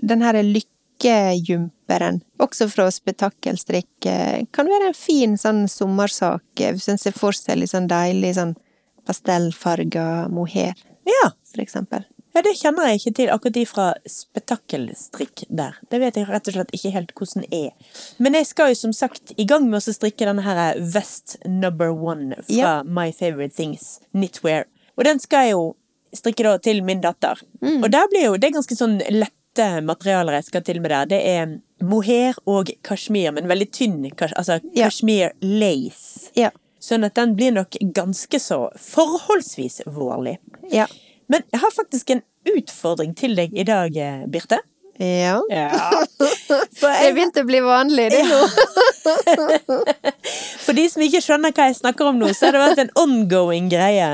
Speaker 2: den her lykkejumperen, også fra spetakkelstrikk, eh, kan være en fin sånn sommersak. eh, Hvis en ser for seg litt sånn deilig sånn pastellfarga mohair,
Speaker 1: ja.
Speaker 2: for eksempel.
Speaker 1: Ja, det kjenner jeg ikke til, akkurat de fra spetakkelstrikk der. Det vet jeg rett og slett ikke helt hvordan er. Men jeg skal jo som sagt i gang med å strikke denne her Vest Number One fra
Speaker 2: Ja.
Speaker 1: My Favorite Things Knitwear. Og den skal jeg jo strikke da til min datter.
Speaker 2: Mm.
Speaker 1: Og der blir jo det er ganske sånn lette materialer jeg skal til med der. Det er mohair og kasjmir, men veldig tynn kas altså
Speaker 2: Ja.
Speaker 1: kasjmir lace.
Speaker 2: Ja.
Speaker 1: Sånn at den blir nok ganske så forholdsvis vårlig.
Speaker 2: Ja.
Speaker 1: Men jeg har faktisk en utfordring til deg i dag, eh, Birte.
Speaker 2: ja.
Speaker 1: Ja. For,
Speaker 2: Det
Speaker 1: jeg,
Speaker 2: begynte å bli vanlig, det nå.
Speaker 1: for de som ikke skjønner hva jeg snakker om nå, så har det vært en ongoing greie.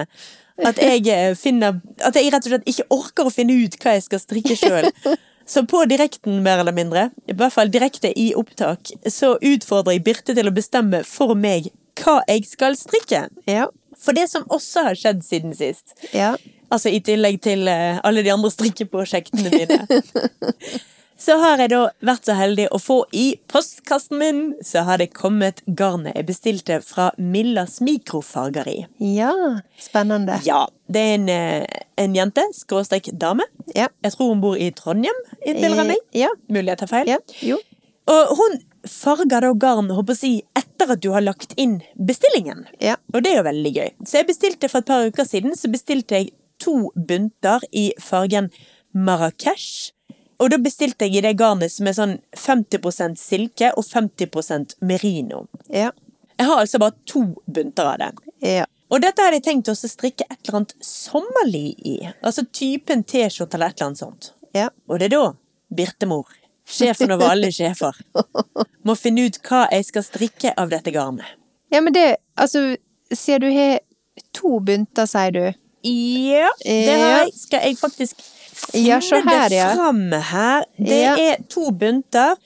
Speaker 1: At jeg eh, finner At jeg rett og slett ikke orker å finne ut hva jeg skal strikke sjøl. Så på direkten, mer eller mindre, i hvert fall direkte i opptak, så utfordrer jeg Birte til å bestemme for meg hva jeg skal strikke.
Speaker 2: Ja.
Speaker 1: For det som også har skjedd siden sist,
Speaker 2: Ja.
Speaker 1: Altså i tillegg til eh, alle de andre strikkeprosjektene mine. Så har jeg da vært så heldig å få i postkassen min, så har det kommet garnet jeg bestilte fra Millas mikrofargeri.
Speaker 2: ja. Spennende.
Speaker 1: Ja, det er en, eh, en jente, skråstrek dame.
Speaker 2: Ja.
Speaker 1: Jeg tror hun bor i Trondheim, innbiller jeg meg.
Speaker 2: Ja.
Speaker 1: Mulig jeg tar feil.
Speaker 2: Ja. Jo.
Speaker 1: Og hun farger da garn, håper jeg å si, etter at du har lagt inn bestillingen.
Speaker 2: Ja.
Speaker 1: Og det er jo veldig gøy. Så jeg bestilte for et par uker siden så bestilte jeg to bunter i fargen Marrakech. Og da bestilte jeg i det garnet som er sånn 50 silke og 50 merino.
Speaker 2: Ja.
Speaker 1: Jeg har altså bare to bunter av det.
Speaker 2: Ja.
Speaker 1: Og dette hadde jeg tenkt også å strikke et eller annet sommerlig i. Altså typen T-skjorte eller et eller annet sånt.
Speaker 2: Ja.
Speaker 1: Og det er da Birtemor Sjefen over alle sjefer. Må finne ut hva jeg skal strikke av dette garnet.
Speaker 2: Ja, men det Altså, sier du har to bunter, sier du.
Speaker 1: Ja, det har jeg. Skal jeg faktisk finne
Speaker 2: Ja, se her,
Speaker 1: det
Speaker 2: ja.
Speaker 1: fram her. Det
Speaker 2: Ja.
Speaker 1: er to bunter,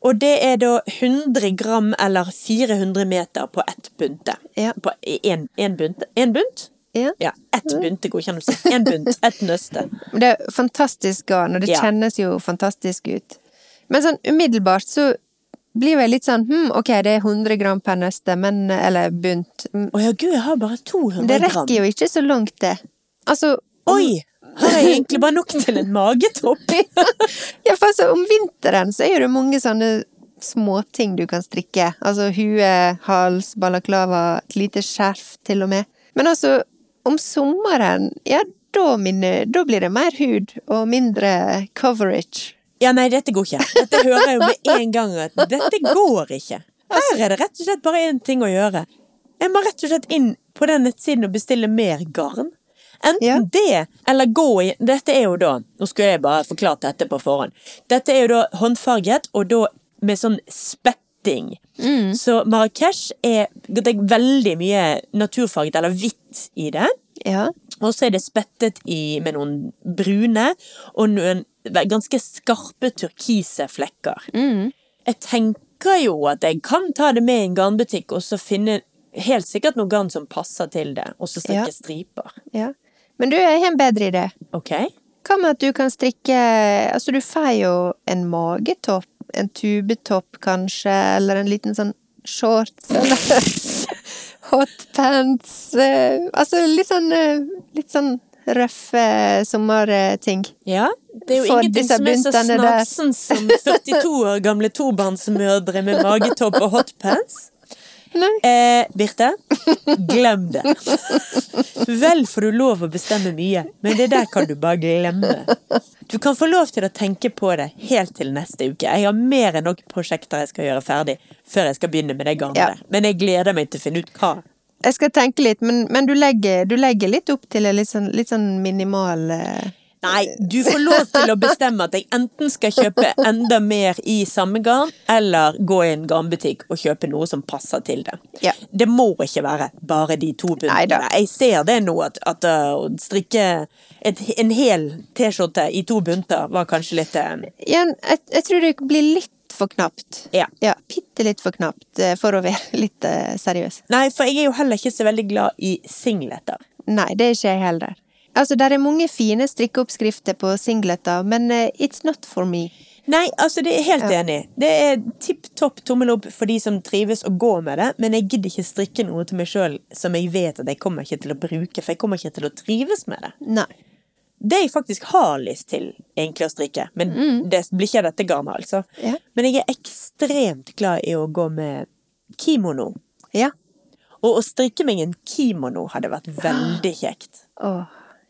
Speaker 1: og det er da 100 gram eller 400 meter på ett bunte.
Speaker 2: Ja.
Speaker 1: På én bunt. En bunt?
Speaker 2: Ja.
Speaker 1: Ja, ett bunte godkjenner du seg. Én bunt, ett nøste.
Speaker 2: Men det er fantastisk garn, og det
Speaker 1: Ja.
Speaker 2: kjennes jo fantastisk ut. Men sånn umiddelbart så blir jeg litt sånn hm, ok, det er 100 gram per nøste, men Eller bunt. Men
Speaker 1: Å ja, gud, jeg har bare 200
Speaker 2: Det
Speaker 1: gram.
Speaker 2: rekker jo ikke så langt, det. Altså
Speaker 1: Oi! Har jeg egentlig bare nok til en magetopp?
Speaker 2: ja, for altså, om vinteren så er det mange sånne småting du kan strikke. Altså hue, hals, balaklava, et lite skjerf til og med. Men altså, om sommeren, ja, da, minner- da blir det mer hud og mindre coverage.
Speaker 1: Ja, nei, dette går ikke. Dette hører jeg jo med en gang at dette går ikke. Her er det rett og slett bare én ting å gjøre. Jeg må rett og slett inn på den nettsiden og bestille mer garn. Enten
Speaker 2: Ja.
Speaker 1: det, eller gå i Dette er jo da Nå skulle jeg bare forklart dette på forhånd. Dette er jo da håndfarget, og da med sånn spetting. Så Marrakech er Det er veldig mye naturfarget, eller hvitt, i det.
Speaker 2: Ja.
Speaker 1: Og så er det spettet i, med noen brune og noen ganske skarpe turkise flekker. Jeg tenker jo at jeg kan ta det med i en garnbutikk og så finne helt sikkert noe garn som passer til det, og så strikke
Speaker 2: Ja.
Speaker 1: striper.
Speaker 2: ja. Men du, jeg har en bedre idé.
Speaker 1: Ok?
Speaker 2: Hva med at du kan strikke Altså, du får jo en magetopp, en tubetopp kanskje, eller en liten sånn shorts, eller hotpants eh, Altså litt sånn, eh, litt sånn røffe sommerting.
Speaker 1: Ja, det er jo
Speaker 2: For
Speaker 1: ingenting
Speaker 2: disse
Speaker 1: som er så
Speaker 2: buntene der.
Speaker 1: snapsen som 42 år gamle tobarnsmødre med magetopp og hotpants.
Speaker 2: Nei.
Speaker 1: Eh, Birte, glem det. Vel får du lov å bestemme mye, men det der kan du bare glemme. Du kan få lov til å tenke på det helt til neste uke. Jeg har mer enn nok prosjekter jeg skal gjøre ferdig før jeg skal begynne med det garnet.
Speaker 2: Ja.
Speaker 1: der. Men jeg gleder meg til å finne ut hva.
Speaker 2: Jeg skal tenke litt, men, men du, legger, du legger litt opp til en litt sånn, litt sånn minimal eh,
Speaker 1: Nei, du får lov til å bestemme at jeg enten skal kjøpe enda mer i samme garn, eller gå i en garnbutikk og kjøpe noe som passer til det.
Speaker 2: Ja.
Speaker 1: Det må ikke være bare de to buntene.
Speaker 2: Neida.
Speaker 1: Jeg ser det nå, at, at uh, å strikke et, en hel T-skjorte i to bunter var kanskje litt eh,
Speaker 2: Igjen, jeg, jeg tror det blir litt for knapt.
Speaker 1: Ja.
Speaker 2: Ja, bitte litt for knapt eh, for å være litt eh, seriøs.
Speaker 1: Nei, for jeg er jo heller ikke så veldig glad i singleter.
Speaker 2: Nei, det er ikke jeg heller. Altså, der er mange fine strikkeoppskrifter på singleter, men eh, it's not for me.
Speaker 1: Nei, altså, det er jeg helt enig. i. Det er tipp topp tommel opp for de som trives å gå med det, men jeg gidder ikke strikke noe til meg sjøl som jeg vet at jeg kommer ikke til å bruke, for jeg kommer ikke til å trives med det.
Speaker 2: Nei.
Speaker 1: Det jeg faktisk har lyst til egentlig å strikke, men det blir ikke av dette garnet, altså.
Speaker 2: Mm. Ja.
Speaker 1: Men jeg er ekstremt glad i å gå med kimono.
Speaker 2: Ja.
Speaker 1: Og å strikke meg en kimono hadde vært veldig kjekt.
Speaker 2: Åh,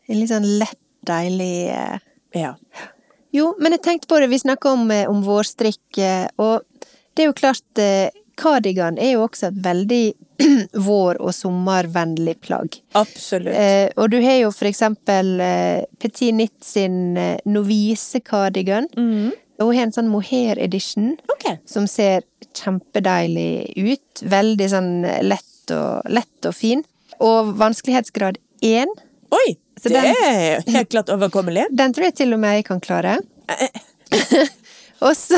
Speaker 2: en litt sånn lett, deilig eh.
Speaker 1: Ja.
Speaker 2: Jo, men jeg tenkte på det, vi snakka om, eh, om vårstrikk, eh, og det er jo klart eh, Kardigan er jo også et veldig vår- og sommervennlig plagg.
Speaker 1: Absolutt.
Speaker 2: Eh, og du har jo for eksempel eh, Petit Nitt sin eh, Novise Cardigan. Og hun har en sånn mohair edition.
Speaker 1: Ok.
Speaker 2: Som ser kjempedeilig ut. Veldig sånn lett og, lett og fin. Og vanskelighetsgrad én,
Speaker 1: Oi!
Speaker 2: så
Speaker 1: det
Speaker 2: den-
Speaker 1: er helt klart overkommelig.
Speaker 2: den tror jeg til og med jeg kan klare. og så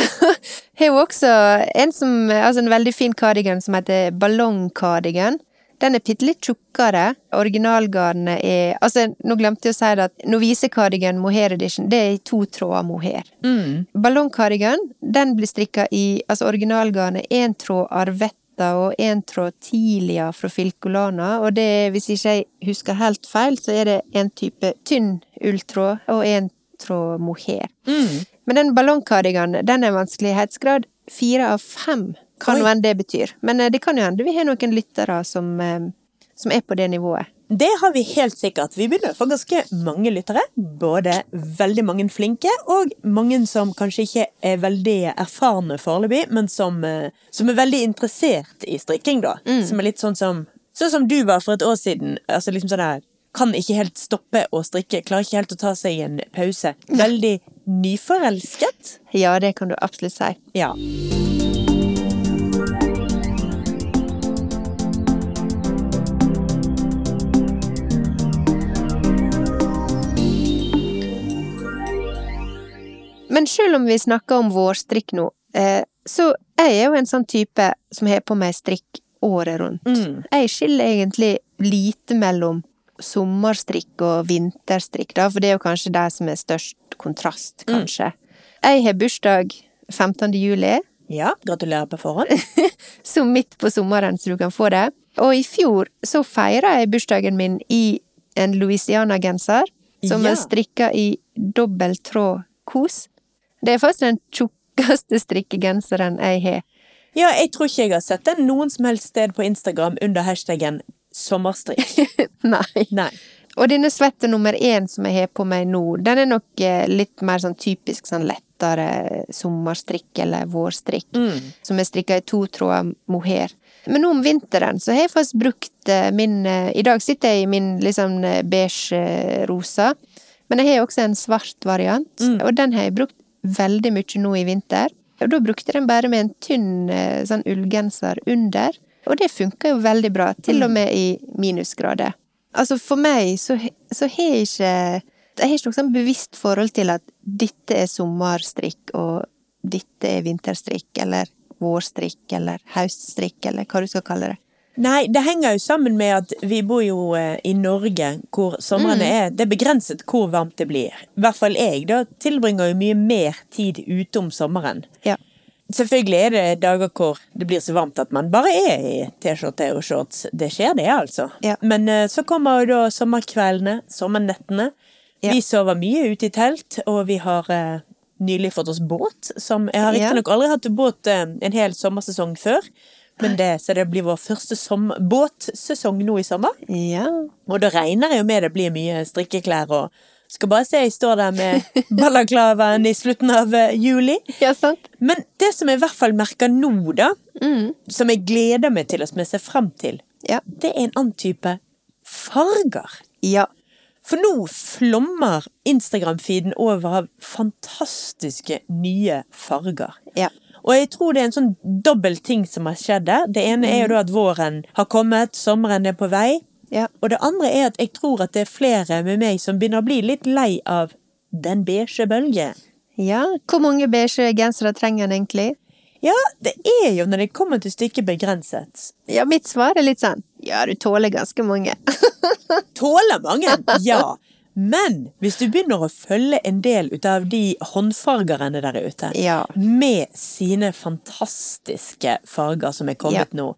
Speaker 2: har hun også en, som, altså en veldig fin cardigan som heter ballongcardigan. Den er bitte litt tjukkere. Originalgarnet er altså, Nå glemte jeg å si det at Novise-cardigan mohair edition det er i to tråder mohair. Mm. Ballongcardigan den blir strikka i altså originalgarnet én tråd Arvetta og én tråd Tilia fra Filcolana. Og det, er, hvis ikke jeg husker helt feil, så er det en type tynn ulltråd og en tråd mohair.
Speaker 1: Mm.
Speaker 2: Men den ballongkardiganen, den er vanskelighetsgrad fire av fem. Kan
Speaker 1: Oi.
Speaker 2: jo hende det betyr. Men eh, det kan jo hende vi har noen lyttere som, eh, som er på det nivået.
Speaker 1: Det har vi helt sikkert. Vi begynner å få ganske mange lyttere. Både veldig mange flinke, og mange som kanskje ikke er veldig erfarne foreløpig, men som, eh, som er veldig interessert i strikking, da. Som er litt sånn som Sånn som du var for et år siden. Altså liksom sånn der Kan ikke helt stoppe å strikke. Klarer ikke helt å ta seg en pause. Veldig nyforelsket.
Speaker 2: Ja, det kan du absolutt si.
Speaker 1: Ja.
Speaker 2: Men selv om vi snakker om vårstrikk nå, eh, så jeg er jo en sånn type som har på meg strikk året rundt.
Speaker 1: Mm.
Speaker 2: Jeg skiller egentlig lite mellom sommerstrikk og vinterstrikk, da, for det er jo kanskje de som er størst kontrast, kanskje. Jeg har bursdag 15. juli,
Speaker 1: ja. Gratulerer på forhånd.
Speaker 2: så midt på sommeren så du kan få det. Og i fjor så feira jeg bursdagen min i en Louisiana-genser, som
Speaker 1: Ja.
Speaker 2: er strikka i dobbelttråd-kos. Det er faktisk den tjukkeste strikkegenseren jeg har.
Speaker 1: Ja, jeg tror ikke jeg har sett den noen som helst sted på Instagram under hashtaggen sommerstrikk.
Speaker 2: Nei.
Speaker 1: Nei.
Speaker 2: Og denne svette nummer én som jeg har på meg nå, den er nok eh, litt mer sånn typisk sånn lettere sommerstrikk eller vårstrikk,
Speaker 1: Mm.
Speaker 2: som er strikka i to tråder mohair. Men nå om vinteren så har jeg faktisk brukt eh, min eh, I dag sitter jeg i min liksom eh, beige eh, rosa, men jeg har også en svart variant, og den har jeg brukt veldig mye nå i vinter. Og da brukte jeg den bare med en tynn eh, sånn ullgenser under, og det funka jo veldig bra, til og med i minusgrader. Altså, for meg så, he- så har jeg ikke Jeg har ikke noe sånn bevisst forhold til at dette er sommerstrikk, og dette er vinterstrikk, eller vårstrikk, eller høststrikk, eller hva du skal kalle det.
Speaker 1: Nei, det henger jo sammen med at vi bor jo eh, i Norge, hvor somrene er Det er begrenset hvor varmt det blir. I hvert fall jeg, da. Tilbringer jo mye mer tid ute om sommeren.
Speaker 2: Ja.
Speaker 1: Selvfølgelig er det dager hvor det blir så varmt at man bare er i T-skjorte og shorts. Det skjer, det, altså.
Speaker 2: Ja.
Speaker 1: Men eh, så kommer jo da sommerkveldene, sommernettene.
Speaker 2: Ja.
Speaker 1: Vi sover mye ute i telt, og vi har eh, nylig fått oss båt. Som, jeg har
Speaker 2: Ja.
Speaker 1: riktignok aldri hatt båt eh, en hel sommersesong før, men det, så det blir vår første som, båtsesong nå i sommer.
Speaker 2: Ja.
Speaker 1: Og da regner jeg jo med det blir mye strikkeklær og skal bare se jeg står der med balaklavaen i slutten av eh, juli.
Speaker 2: Ja, sant?
Speaker 1: Men det som jeg i hvert fall merker nå, da,
Speaker 2: Mm.
Speaker 1: som jeg gleder meg til, og som jeg ser frem til,
Speaker 2: Ja.
Speaker 1: det er en annen type farger.
Speaker 2: Ja.
Speaker 1: For nå flommer Instagram-feeden over av fantastiske nye farger.
Speaker 2: Ja.
Speaker 1: Og jeg tror det er en sånn dobbel ting som har skjedd der. Det ene er jo da at våren har kommet, sommeren er på vei.
Speaker 2: Ja.
Speaker 1: Og det andre er at jeg tror at det er flere med meg som begynner å bli litt lei av den beige bølgen.
Speaker 2: ja. Hvor mange beige gensere trenger en egentlig?
Speaker 1: Ja, det er jo når det kommer til stykket begrenset.
Speaker 2: Ja, mitt svar er litt sånn Ja, du tåler ganske mange.
Speaker 1: Tåler mange, ja. Men hvis du begynner å følge en del ut av de håndfargerne der ute,
Speaker 2: Ja.
Speaker 1: med sine fantastiske farger som er kommet
Speaker 2: Ja.
Speaker 1: nå,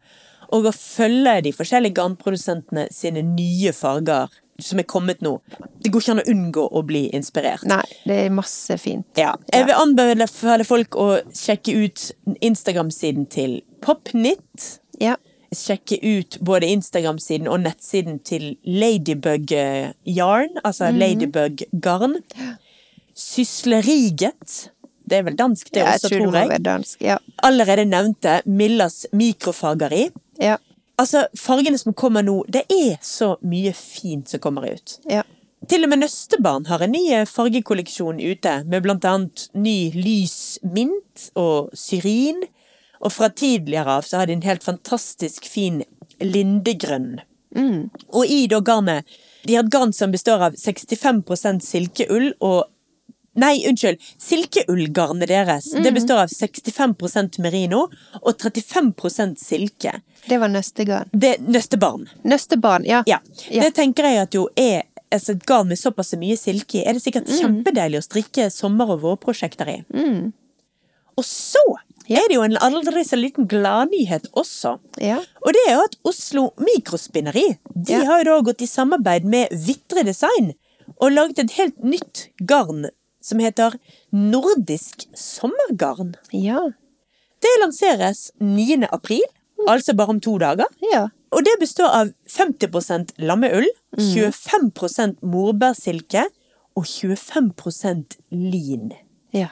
Speaker 1: og å følge de forskjellige garnprodusentene sine nye farger som er kommet nå, det går ikke an å unngå å bli inspirert.
Speaker 2: Nei, det er masse fint.
Speaker 1: Ja. Jeg vil anbefale folk å sjekke ut Instagram-siden til Popnit.
Speaker 2: Ja.
Speaker 1: sjekke ut både Instagram-siden og nettsiden til Ladybug eh, Yarn, altså
Speaker 2: Mhm.
Speaker 1: Ladybug Garn. Sysleriget. Det er vel dansk, det
Speaker 2: Ja, jeg
Speaker 1: også,
Speaker 2: tror det må
Speaker 1: tror jeg.
Speaker 2: være dansk. Ja.
Speaker 1: Allerede nevnte Millas mikrofageri.
Speaker 2: Ja.
Speaker 1: Altså, fargene som kommer nå, det er så mye fint som kommer ut.
Speaker 2: Ja.
Speaker 1: Til og med Nøstebarn har en ny eh, fargekolleksjon ute, med blant annet ny lys mint og syrin. Og fra tidligere av så har de en helt fantastisk fin lindegrønn. Og i da garnet De har et garn som består av 65 silkeull og Nei, unnskyld. Silkeullgarnet deres Det består av 65 merino og 35 silke.
Speaker 2: Det var nøstegarn.
Speaker 1: Det er Nøstebarn.
Speaker 2: Nøstebarn, ja.
Speaker 1: Ja.
Speaker 2: Ja.
Speaker 1: Det tenker jeg at jo er altså et garn med såpass mye silke i, er det
Speaker 2: Mm.
Speaker 1: sikkert kjempedeilig å strikke sommer- og vårprosjekter i. Og så er det jo en aldri så liten gladnyhet også.
Speaker 2: Ja.
Speaker 1: Og det er jo at Oslo Mikrospinneri de
Speaker 2: Ja.
Speaker 1: har jo da gått i samarbeid med Vitre Design og laget et helt nytt garn som heter Nordisk sommergarn.
Speaker 2: Ja.
Speaker 1: Det lanseres 9. april,
Speaker 2: Mm.
Speaker 1: altså bare om to dager.
Speaker 2: Ja.
Speaker 1: Og det består av 50 lammeull, 25 morbærsilke og 25 lin.
Speaker 2: Ja.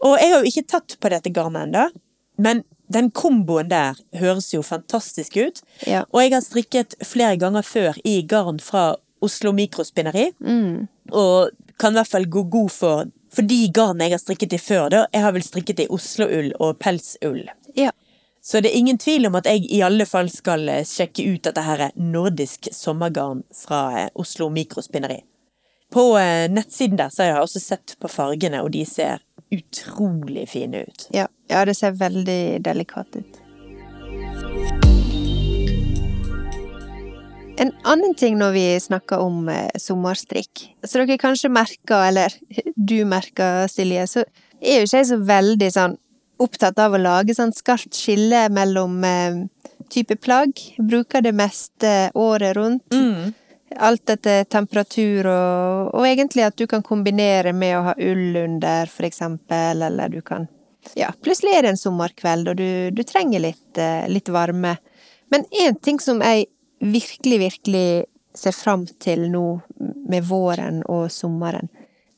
Speaker 1: Og jeg har jo ikke tatt på dette garnet ennå, men den komboen der høres jo fantastisk ut.
Speaker 2: Ja.
Speaker 1: Og jeg har strikket flere ganger før i garn fra Oslo Mikrospinneri, og kan i hvert fall gå god for For de garnene jeg har strikket i før, da, jeg har vel strikket i Oslo-ull og pelsull.
Speaker 2: Ja.
Speaker 1: Så det er ingen tvil om at jeg i alle fall skal eh, sjekke ut dette her nordisk sommergarn fra eh, Oslo Mikrospinneri. På eh, nettsiden der så har jeg også sett på fargene, og de ser utrolig fine ut.
Speaker 2: Ja. ja, det ser veldig delikat ut. En annen ting når vi snakker om eh, sommerstrikk, så dere kanskje merker, eller du merker, Silje, så er jo ikke jeg så veldig sånn opptatt av å lage sånn skarpt skille mellom eh, type plagg. Bruker det meste året rundt. Alt etter temperatur og, og egentlig at du kan kombinere med å ha ull under, for eksempel, eller du kan Ja, plutselig er det en sommerkveld, og du, du trenger litt, eh, litt varme. Men én ting som jeg virkelig, virkelig ser fram til nå med våren og sommeren,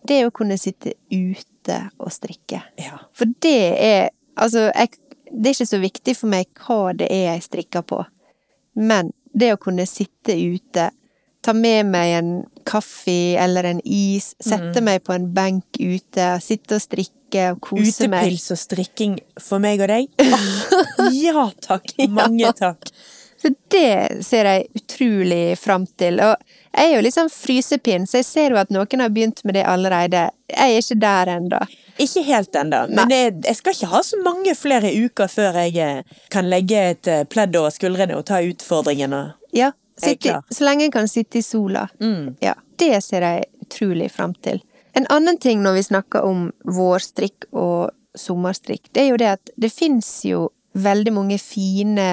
Speaker 2: det er å kunne sitte ute og strikke.
Speaker 1: Ja.
Speaker 2: For det er Altså, jeg, det er ikke så viktig for meg hva det er jeg strikker på. Men det å kunne sitte ute, ta med meg en kaffe eller en is, sette meg på en benk ute, sitte og strikke og kose meg.
Speaker 1: Utepils og strikking for meg og deg? Åh, ja takk! Mange takk.
Speaker 2: Så det ser jeg utrolig fram til. Og jeg er jo liksom frysepinn, så jeg ser jo at noen har begynt med det allerede. Jeg er ikke der ennå.
Speaker 1: Ikke helt ennå, men jeg, jeg skal ikke ha så mange flere uker før jeg eh, kan legge et eh, pledd over skuldrene og ta utfordringen. Og...
Speaker 2: Ja,
Speaker 1: Jeg er
Speaker 2: sitte,
Speaker 1: klar. Mm.
Speaker 2: så lenge en kan sitte i sola. Ja, det ser jeg utrolig fram til. En annen ting når vi snakker om vårstrikk og sommerstrikk, det er jo det at det fins jo veldig mange fine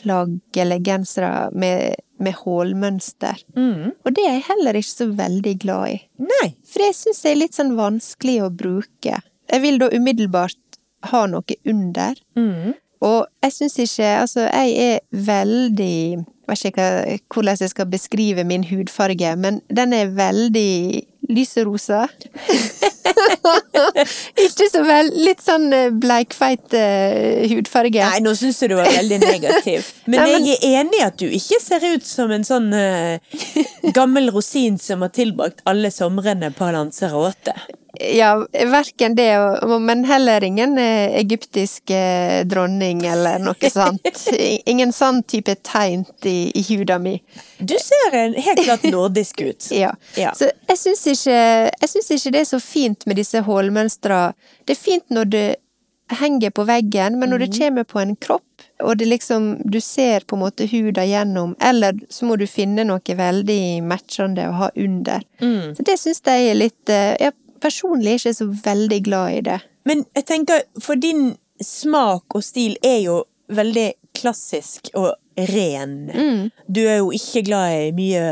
Speaker 2: plagg eller gensere med, med hålmønster.
Speaker 1: Mm.
Speaker 2: Og det er jeg heller ikke så veldig glad i.
Speaker 1: Nei.
Speaker 2: For det syns jeg er litt sånn vanskelig å bruke. Jeg vil da umiddelbart ha noe under. Og jeg syns ikke Altså, jeg er veldig Jeg vet ikke hva, hvordan jeg skal beskrive min hudfarge, men den er veldig lyserosa. ikke så vel Litt sånn eh, bleikfeit eh, hudfarge.
Speaker 1: Nei, nå syns jeg du var veldig negativ. Men,
Speaker 2: Nei, men-
Speaker 1: jeg er enig i at du ikke ser ut som en sånn eh, gammel rosin som har tilbrakt alle somrene på Lanzarote.
Speaker 2: Ja, verken det, og- men heller ingen eh, egyptisk eh, dronning eller noe sånt. I- Ingen sånn type tegnt i, i huda mi.
Speaker 1: Du ser en, helt klart nordisk ut.
Speaker 2: Ja.
Speaker 1: Ja.
Speaker 2: Så jeg syns ikke, jeg syns ikke det er så fint med disse hålmønstra. Det er fint når det henger på veggen, men når det kommer på en kropp, og det liksom, du ser på en måte huda gjennom, eller så må du finne noe veldig matchende å ha under. Så det syns jeg er litt eh, Jeg personlig er ikke så veldig glad i det.
Speaker 1: Men jeg tenker, for din smak og stil er jo veldig klassisk og ren.
Speaker 2: Mm.
Speaker 1: Du er jo ikke glad i mye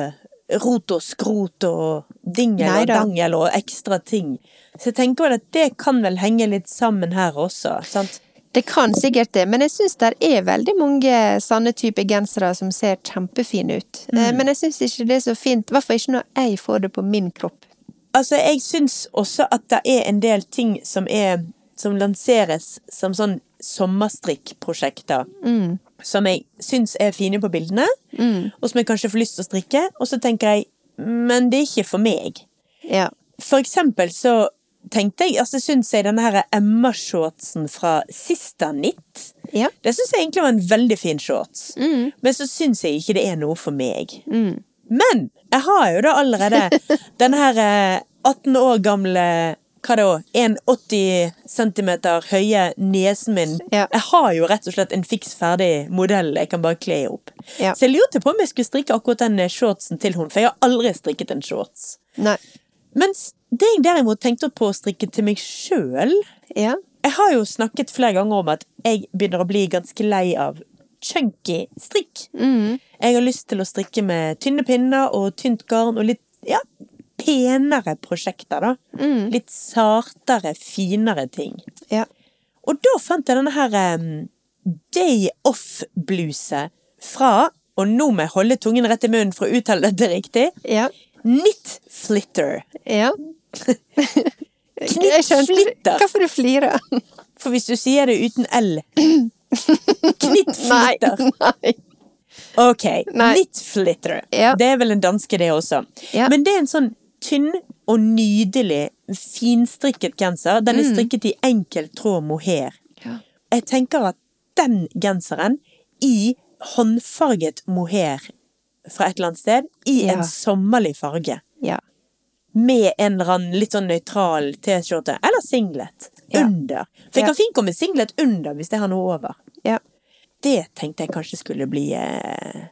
Speaker 1: rot og skrot og dingel og
Speaker 2: Neida.
Speaker 1: dangel og ekstra ting. Så jeg tenker vel at det kan vel henge litt sammen her også, sant?
Speaker 2: Det kan sikkert det, men jeg syns det er veldig mange sanne typer gensere som ser kjempefine ut. Eh, Men jeg syns ikke det er så fint, i hvert fall ikke når jeg får det på min kropp.
Speaker 1: Altså, jeg syns også at det er en del ting som er Som lanseres som sånn sommerstrikkprosjekter. Som jeg syns er fine på bildene, og som jeg kanskje får lyst til å strikke. Og så tenker jeg Men det er ikke for meg.
Speaker 2: Ja.
Speaker 1: For eksempel så tenkte jeg Altså syns jeg denne her Emma-shortsen fra Sista Nitt
Speaker 2: Ja.
Speaker 1: Det syns jeg egentlig var en veldig fin shorts.
Speaker 2: Mm.
Speaker 1: Men så syns jeg ikke det er noe for meg. Men jeg har jo da allerede denne her eh, 18 år gamle hva da, 1,80 cm høye nesen min.
Speaker 2: Ja.
Speaker 1: Jeg har jo rett og slett en fiks ferdig modell jeg kan bare kle opp.
Speaker 2: Ja.
Speaker 1: Så jeg lurte på om jeg skulle strikke akkurat den eh, shortsen til hun, for jeg har aldri strikket en shorts.
Speaker 2: Nei.
Speaker 1: Mens det jeg derimot tenkte på å strikke til meg sjøl
Speaker 2: Ja.
Speaker 1: Jeg har jo snakket flere ganger om at jeg begynner å bli ganske lei av chunky strikk. Jeg har lyst til å strikke med tynne pinner og tynt garn og litt ja, penere prosjekter, da. Litt sartere, finere ting.
Speaker 2: Ja.
Speaker 1: Og da fant jeg denne her em, Day Off-bluse fra, og nå må jeg holde tungen rett i munnen for å uttale dette riktig,
Speaker 2: Ja.
Speaker 1: Knit Flitter.
Speaker 2: ja.
Speaker 1: Knitt flitter.
Speaker 2: Hvorfor du flirer?
Speaker 1: For hvis du sier det uten L Knittflitter.
Speaker 2: Nei.
Speaker 1: Ok,
Speaker 2: Nei.
Speaker 1: knittflitter.
Speaker 2: Ja.
Speaker 1: Det er vel en danske, det også.
Speaker 2: Ja.
Speaker 1: Men det er en sånn tynn og nydelig finstrikket genser. Den
Speaker 2: Mm.
Speaker 1: er strikket i enkel tråd mohair.
Speaker 2: Ja.
Speaker 1: Jeg tenker at den genseren i håndfarget mohair fra et eller annet sted, i
Speaker 2: Ja.
Speaker 1: en sommerlig farge,
Speaker 2: ja.
Speaker 1: med en eller annen litt sånn nøytral T-skjorte, eller singlet,
Speaker 2: Ja.
Speaker 1: under. For jeg
Speaker 2: Ja.
Speaker 1: kan fint komme singlet under hvis jeg har noe over.
Speaker 2: ja.
Speaker 1: Det tenkte jeg kanskje skulle bli eh,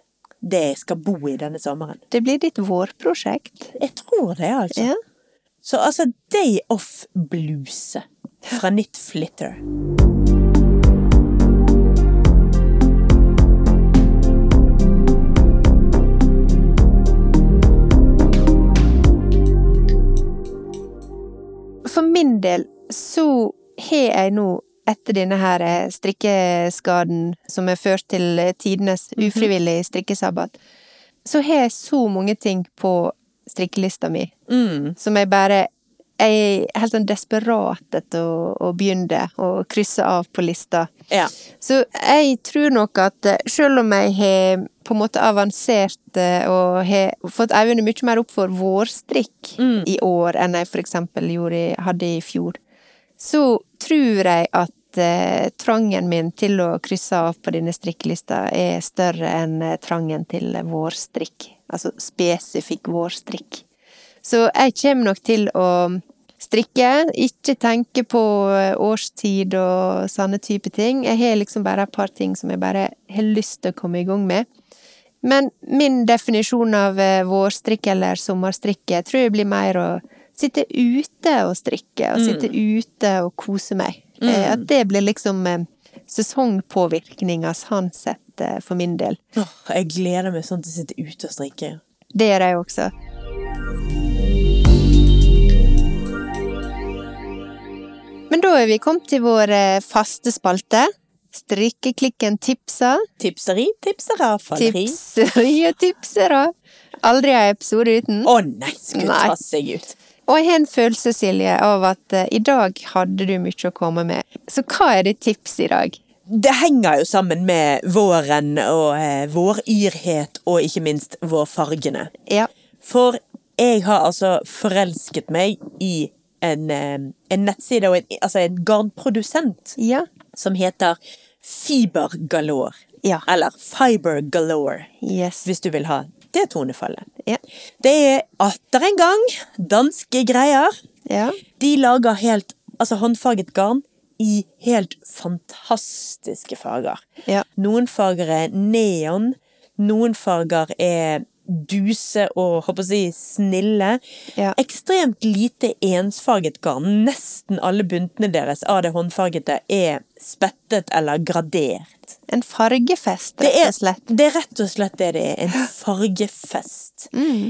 Speaker 1: det jeg skal bo i denne sommeren.
Speaker 2: Det blir ditt vårprosjekt.
Speaker 1: Jeg tror det, altså.
Speaker 2: Ja.
Speaker 1: Så altså, day off-bluse fra nytt Flitter.
Speaker 2: For min del så har jeg nå, etter denne her eh, strikkeskaden som er ført til eh, tidenes ufrivillig strikkesabbat, så har jeg så mange ting på strikkelista mi
Speaker 1: Mm.
Speaker 2: som jeg bare Jeg er helt sånn desperat etter å, å begynne å krysse av på lista.
Speaker 1: Ja.
Speaker 2: Så jeg tror nok at eh, selv om jeg har på en måte avansert eh, og har fått øynene mye mer opp for vårstrikk i år enn jeg for eksempel gjorde, i- hadde i fjor, så tror jeg at eh, trangen min til å krysse av på denne strikkelista er større enn eh, trangen til vårstrikk. Altså spesifikk vårstrikk. Så jeg kommer nok til å strikke, ikke tenke på eh, årstid og sånne type ting. Jeg har liksom bare et par ting som jeg bare har lyst til å komme i gang med. Men min definisjon av eh, vårstrikk eller sommerstrikke tror jeg blir mer å sitte ute og strikke, og sitte ute og kose meg. Eh, At det blir liksom eh, sesongpåvirkninga sånn sett eh, for min del.
Speaker 1: Åh, jeg gleder meg sånn til å sitte ute og strikke.
Speaker 2: Det gjør jeg også. Men da er vi kommet til vår eh, faste spalte. Strikkeklikken tipser.
Speaker 1: Tipseri, tipsere, falleri. Å
Speaker 2: Tipseri og tipsere. Aldri en episode uten.
Speaker 1: nei, skulle
Speaker 2: Nei.
Speaker 1: ta seg ut.
Speaker 2: Og jeg har en følelse, Silje, av at eh, i dag hadde du mye å komme med. Så hva er ditt tips i dag?
Speaker 1: Det henger jo sammen med våren og eh, våryrhet, og ikke minst vårfargene.
Speaker 2: Ja.
Speaker 1: For jeg har altså forelsket meg i en, eh, en nettside og en, altså en garnprodusent
Speaker 2: Ja.
Speaker 1: som heter Fiber Galore.
Speaker 2: Ja.
Speaker 1: Eller Fiber Galore,
Speaker 2: Yes.
Speaker 1: hvis du vil ha det tonefallet.
Speaker 2: Ja.
Speaker 1: Det er atter en gang danske greier.
Speaker 2: Ja.
Speaker 1: De lager helt altså håndfarget garn i helt fantastiske farger.
Speaker 2: Ja.
Speaker 1: Noen farger er neon, noen farger er duse og håper å si snille.
Speaker 2: Ja.
Speaker 1: Ekstremt lite ensfarget garn. Nesten alle buntene deres av det håndfargete er spettet eller gradert.
Speaker 2: En fargefest,
Speaker 1: Det
Speaker 2: rett
Speaker 1: er,
Speaker 2: og slett.
Speaker 1: det er rett og slett det det er. En fargefest.
Speaker 2: Mm.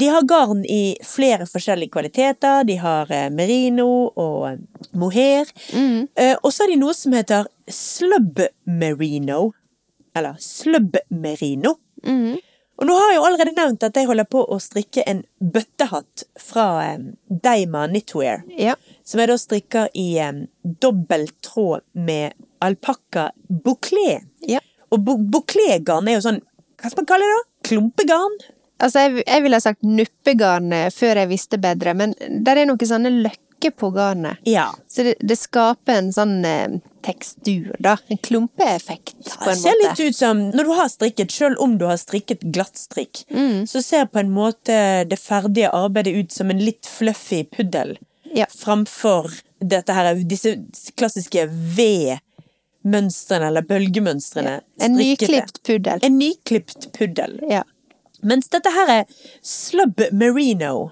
Speaker 1: De har garn i flere forskjellige kvaliteter. De har eh, merino og mohair.
Speaker 2: Mm.
Speaker 1: Eh, og så har de noe som heter slub merino. Eller slub merino. Og nå har jeg jo allerede nevnt at jeg holder på å strikke en bøttehatt fra eh, Deima Knitwear.
Speaker 2: Ja.
Speaker 1: Som jeg da strikker i eh, dobbel tråd med alpakka bouclé.
Speaker 2: Ja.
Speaker 1: Og bo bouclé-garn er jo sånn Hva skal man kalle det? da? Klumpegarn?
Speaker 2: Altså, jeg, jeg ville ha sagt nuppegarnet før jeg visste bedre, men der er noen sånne løkker på garnet.
Speaker 1: Ja.
Speaker 2: Så det, det skaper en sånn eh, tekstur, da. En klumpeeffekt, på
Speaker 1: Det
Speaker 2: en
Speaker 1: ser
Speaker 2: måte.
Speaker 1: litt ut som Når du har strikket, selv om du har strikket glattstrikk,
Speaker 2: Mm.
Speaker 1: så ser på en måte det ferdige arbeidet ut som en litt fluffy puddel.
Speaker 2: Ja.
Speaker 1: Framfor dette her, disse klassiske V-mønstrene, eller bølgemønstrene.
Speaker 2: En
Speaker 1: strikkete.
Speaker 2: nyklipt puddel.
Speaker 1: En nyklipt puddel.
Speaker 2: Ja.
Speaker 1: Mens dette her er Slub Merino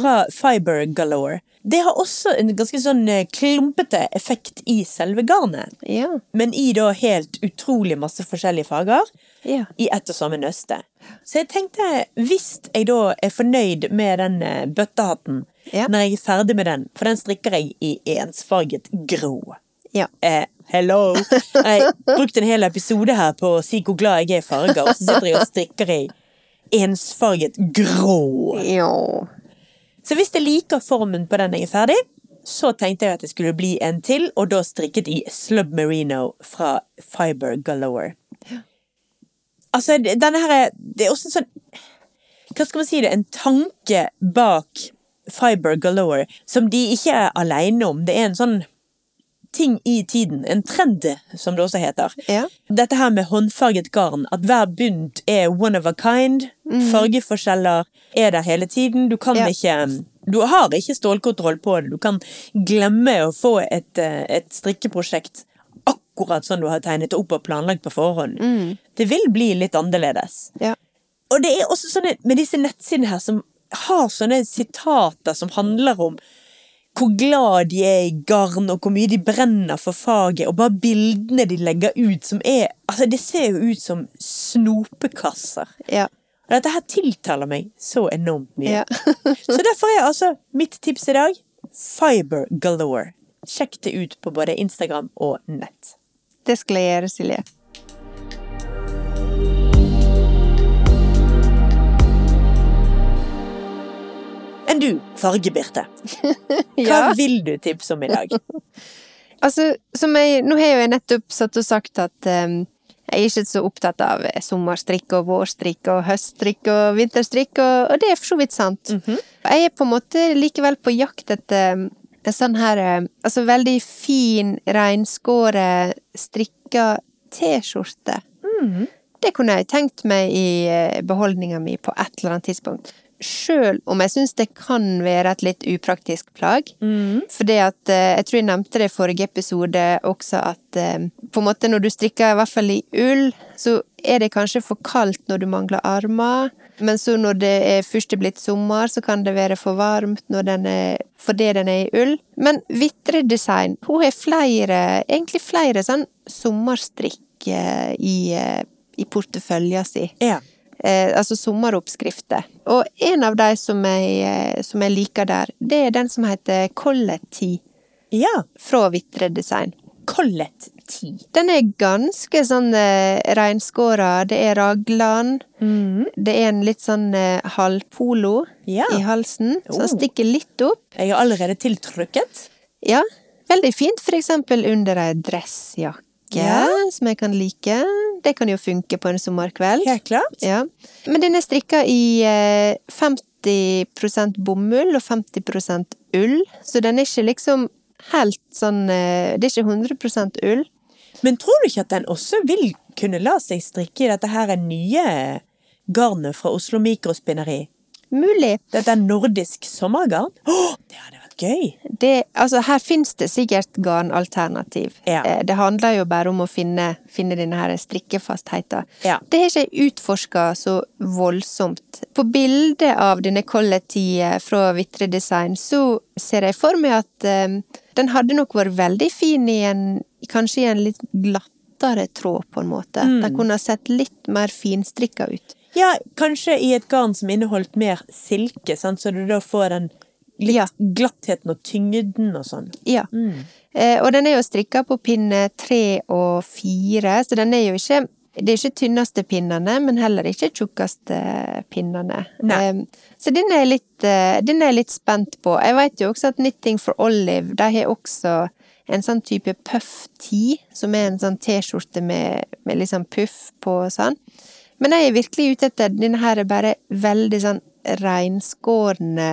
Speaker 1: fra Fiber Galore. Det har også en ganske sånn eh, klumpete effekt i selve garnet.
Speaker 2: Ja.
Speaker 1: Men i da helt utrolig masse forskjellige farger
Speaker 2: Ja.
Speaker 1: i ett og samme nøste. Så jeg tenkte, hvis jeg da er fornøyd med den eh, bøttehatten
Speaker 2: Ja.
Speaker 1: når jeg er ferdig med den, for den strikker jeg i ensfarget grå.
Speaker 2: ja.
Speaker 1: Eh, hello! Jeg har brukt en hel episode her på å si hvor glad jeg er i farger, og så sitter jeg og strikker i ensfarget grå.
Speaker 2: Jo.
Speaker 1: Så hvis jeg liker formen på den jeg er ferdig, så tenkte jeg at det skulle bli en til, og da strikket i Slub Merino fra Fiber Galore. Altså, det- denne her er Det er også en sånn Hva skal man si det? En tanke bak Fiber Galore, som de ikke er alene om. Det er en sånn ting i tiden, en trend, som det også heter.
Speaker 2: Ja.
Speaker 1: Dette her med håndfarget garn, at hver bunt er one of a kind. Fargeforskjeller er der hele tiden. Du kan
Speaker 2: Mm. Ja.
Speaker 1: ikke Du har ikke stålkontroll på det. Du kan glemme å få et, eh, et strikkeprosjekt akkurat sånn du har tegnet opp og planlagt på forhånd.
Speaker 2: Mm.
Speaker 1: Det vil bli litt annerledes.
Speaker 2: ja.
Speaker 1: Og det er også sånne med disse nettsidene her som har sånne sitater som handler om hvor glad de er i garn, og hvor mye de brenner for faget, og bare bildene de legger ut som er Altså, det ser jo ut som snopekasser.
Speaker 2: ja.
Speaker 1: Og dette her tiltaler meg så enormt mye.
Speaker 2: Ja.
Speaker 1: så derfor er altså mitt tips i dag Fiber Galore. Sjekk det ut på både Instagram og nett.
Speaker 2: Det skal jeg gjøre, Silje.
Speaker 1: Enn du, farge, Birte. Hva
Speaker 2: Ja.
Speaker 1: vil du tipse om i dag?
Speaker 2: Altså, som jeg, nå har jo jeg nettopp satt og sagt at em, jeg er ikke så opptatt av eh, sommerstrikk og vårstrikk og høststrikk og vinterstrikk, og, og det er for så vidt sant. Jeg er på en måte likevel på jakt etter em, en sånn her em, altså veldig fin, reinskåret, strikka T-skjorte. Det kunne jeg tenkt meg i eh, beholdninga mi på et eller annet tidspunkt. Sjøl om jeg syns det kan være et litt upraktisk plagg. Fordi at, eh, jeg tror jeg nevnte det i forrige episode også, at eh, på en måte når du strikker, i hvert fall i ull, så er det kanskje for kaldt når du mangler armer. Men så når det er først er blitt sommer, så kan det være for varmt når den er, fordi den er i ull. Men Vitre Design hun har flere, egentlig flere sånn sommerstrikk eh, i, eh, i portefølja si.
Speaker 1: Ja.
Speaker 2: Eh, altså sommeroppskrifter. Og en av de som jeg, eh, som jeg liker der, det er den som heter Colletti
Speaker 1: ja.
Speaker 2: fra Vitre Design.
Speaker 1: Collett 10.
Speaker 2: Den er ganske sånn eh, reinskåra. Det er raglan. Det er en litt sånn eh, halvpolo
Speaker 1: Ja.
Speaker 2: i halsen, så den
Speaker 1: Oh.
Speaker 2: stikker litt opp.
Speaker 1: Jeg er allerede tiltrykket.
Speaker 2: Ja, veldig fint for eksempel under ei dressjakke,
Speaker 1: Ja.
Speaker 2: som jeg kan like. Det kan jo funke på en sommerkveld.
Speaker 1: Helt klart.
Speaker 2: Ja. Men den er strikka i eh, 50 bomull og 50 ull, så den er ikke liksom helt sånn eh, Det er ikke 100 ull.
Speaker 1: Men tror du ikke at den også vil kunne la seg strikke i dette her nye garnet fra Oslo Mikrospinneri?
Speaker 2: Mulig.
Speaker 1: Dette er nordisk sommergarn. Åh, det hadde vært gøy!
Speaker 2: Det, altså, her finnes det sikkert garnalternativ.
Speaker 1: Ja.
Speaker 2: Eh, Det handler jo bare om å finne, finne denne her strikkefastheten.
Speaker 1: Ja.
Speaker 2: Det har ikke jeg utforska så voldsomt. På bildet av denne kollektivet fra Vitre Design så ser jeg for meg at eh, den hadde nok vært veldig fin i en Kanskje i en litt glattere tråd, på en måte.
Speaker 1: Mm.
Speaker 2: Den kunne ha sett litt mer finstrikka ut.
Speaker 1: Ja, kanskje i et garn som inneholdt mer silke, sant? så du da får den litt
Speaker 2: Ja.
Speaker 1: glattheten og tyngden og sånn.
Speaker 2: Ja. Eh, og den er jo strikka på pinne tre og fire, så den er jo ikke det er ikke tynneste pinnene, men heller ikke tjukkeste pinnene.
Speaker 1: Nei.
Speaker 2: Eh, Så den er, jeg litt, eh, den er jeg litt spent på. Jeg vet jo også at Knitting for Olive de har også en sånn type puff-tee, som er en sånn T-skjorte med, med litt sånn puff på og sånn. Men jeg er virkelig ute etter denne her er bare veldig sånn reinskårne,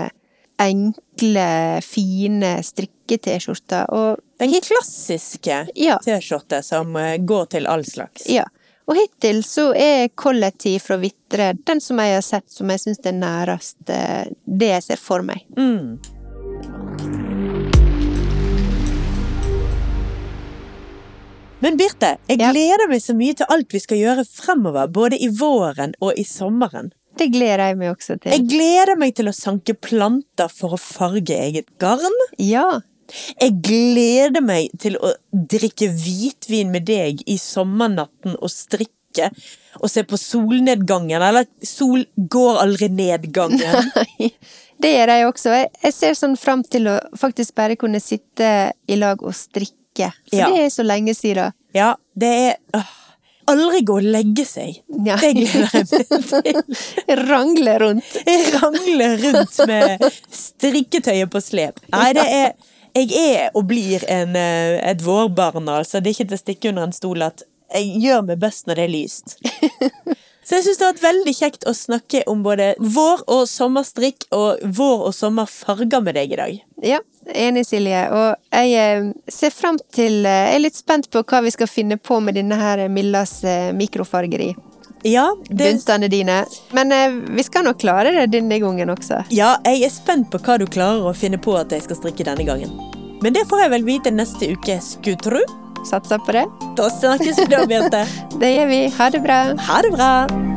Speaker 2: enkle, fine strikke-T-skjorter. Og
Speaker 1: Den klassiske
Speaker 2: Ja.
Speaker 1: T-skjorte som eh, går til all slags.
Speaker 2: ja. Og hittil så er kollektiv fra Vitre den som jeg har sett som jeg syns er nærest eh, det jeg ser for meg.
Speaker 1: Mm. Men Birte, jeg
Speaker 2: Ja.
Speaker 1: gleder meg så mye til alt vi skal gjøre fremover, både i våren og i sommeren.
Speaker 2: Det gleder jeg meg også til.
Speaker 1: Jeg gleder meg til å sanke planter for å farge eget garn.
Speaker 2: Ja.
Speaker 1: Jeg gleder meg til å drikke hvitvin med deg i sommernatten og strikke og se på solnedgangen, eller sol går aldri nedgangen.
Speaker 2: det gjør jeg også. Jeg, jeg ser sånn fram til å faktisk bare kunne sitte i lag og strikke. For
Speaker 1: Ja.
Speaker 2: det er så lenge siden.
Speaker 1: Ja, det er åh, Aldri gå og legge seg.
Speaker 2: Ja.
Speaker 1: Det gleder jeg meg til.
Speaker 2: Rangle rundt.
Speaker 1: Jeg rangler rundt med strikketøyet på slep. Nei, det er Jeg er og blir en, eh, et vårbarn, altså. Det er ikke til å stikke under en stol at jeg gjør meg best når det er lyst. Så jeg syns det har vært veldig kjekt å snakke om både vår- og sommerstrikk og vår- og sommerfarger med deg i dag.
Speaker 2: Ja, enig Silje. Og jeg eh, ser fram til eh, Jeg er litt spent på hva vi skal finne på med denne her Millas eh, mikrofargeri.
Speaker 1: Ja, det,
Speaker 2: Buntene dine. Men eh, vi skal nok klare det denne gangen også.
Speaker 1: ja, jeg er spent på hva du klarer å finne på at jeg skal strikke denne gangen. Men det får jeg vel vite neste uke, skulle tru.
Speaker 2: Satser på det.
Speaker 1: Da snakkes vi da, Bjarte.
Speaker 2: Det gjør vi. Ha det bra.
Speaker 1: Ha det bra!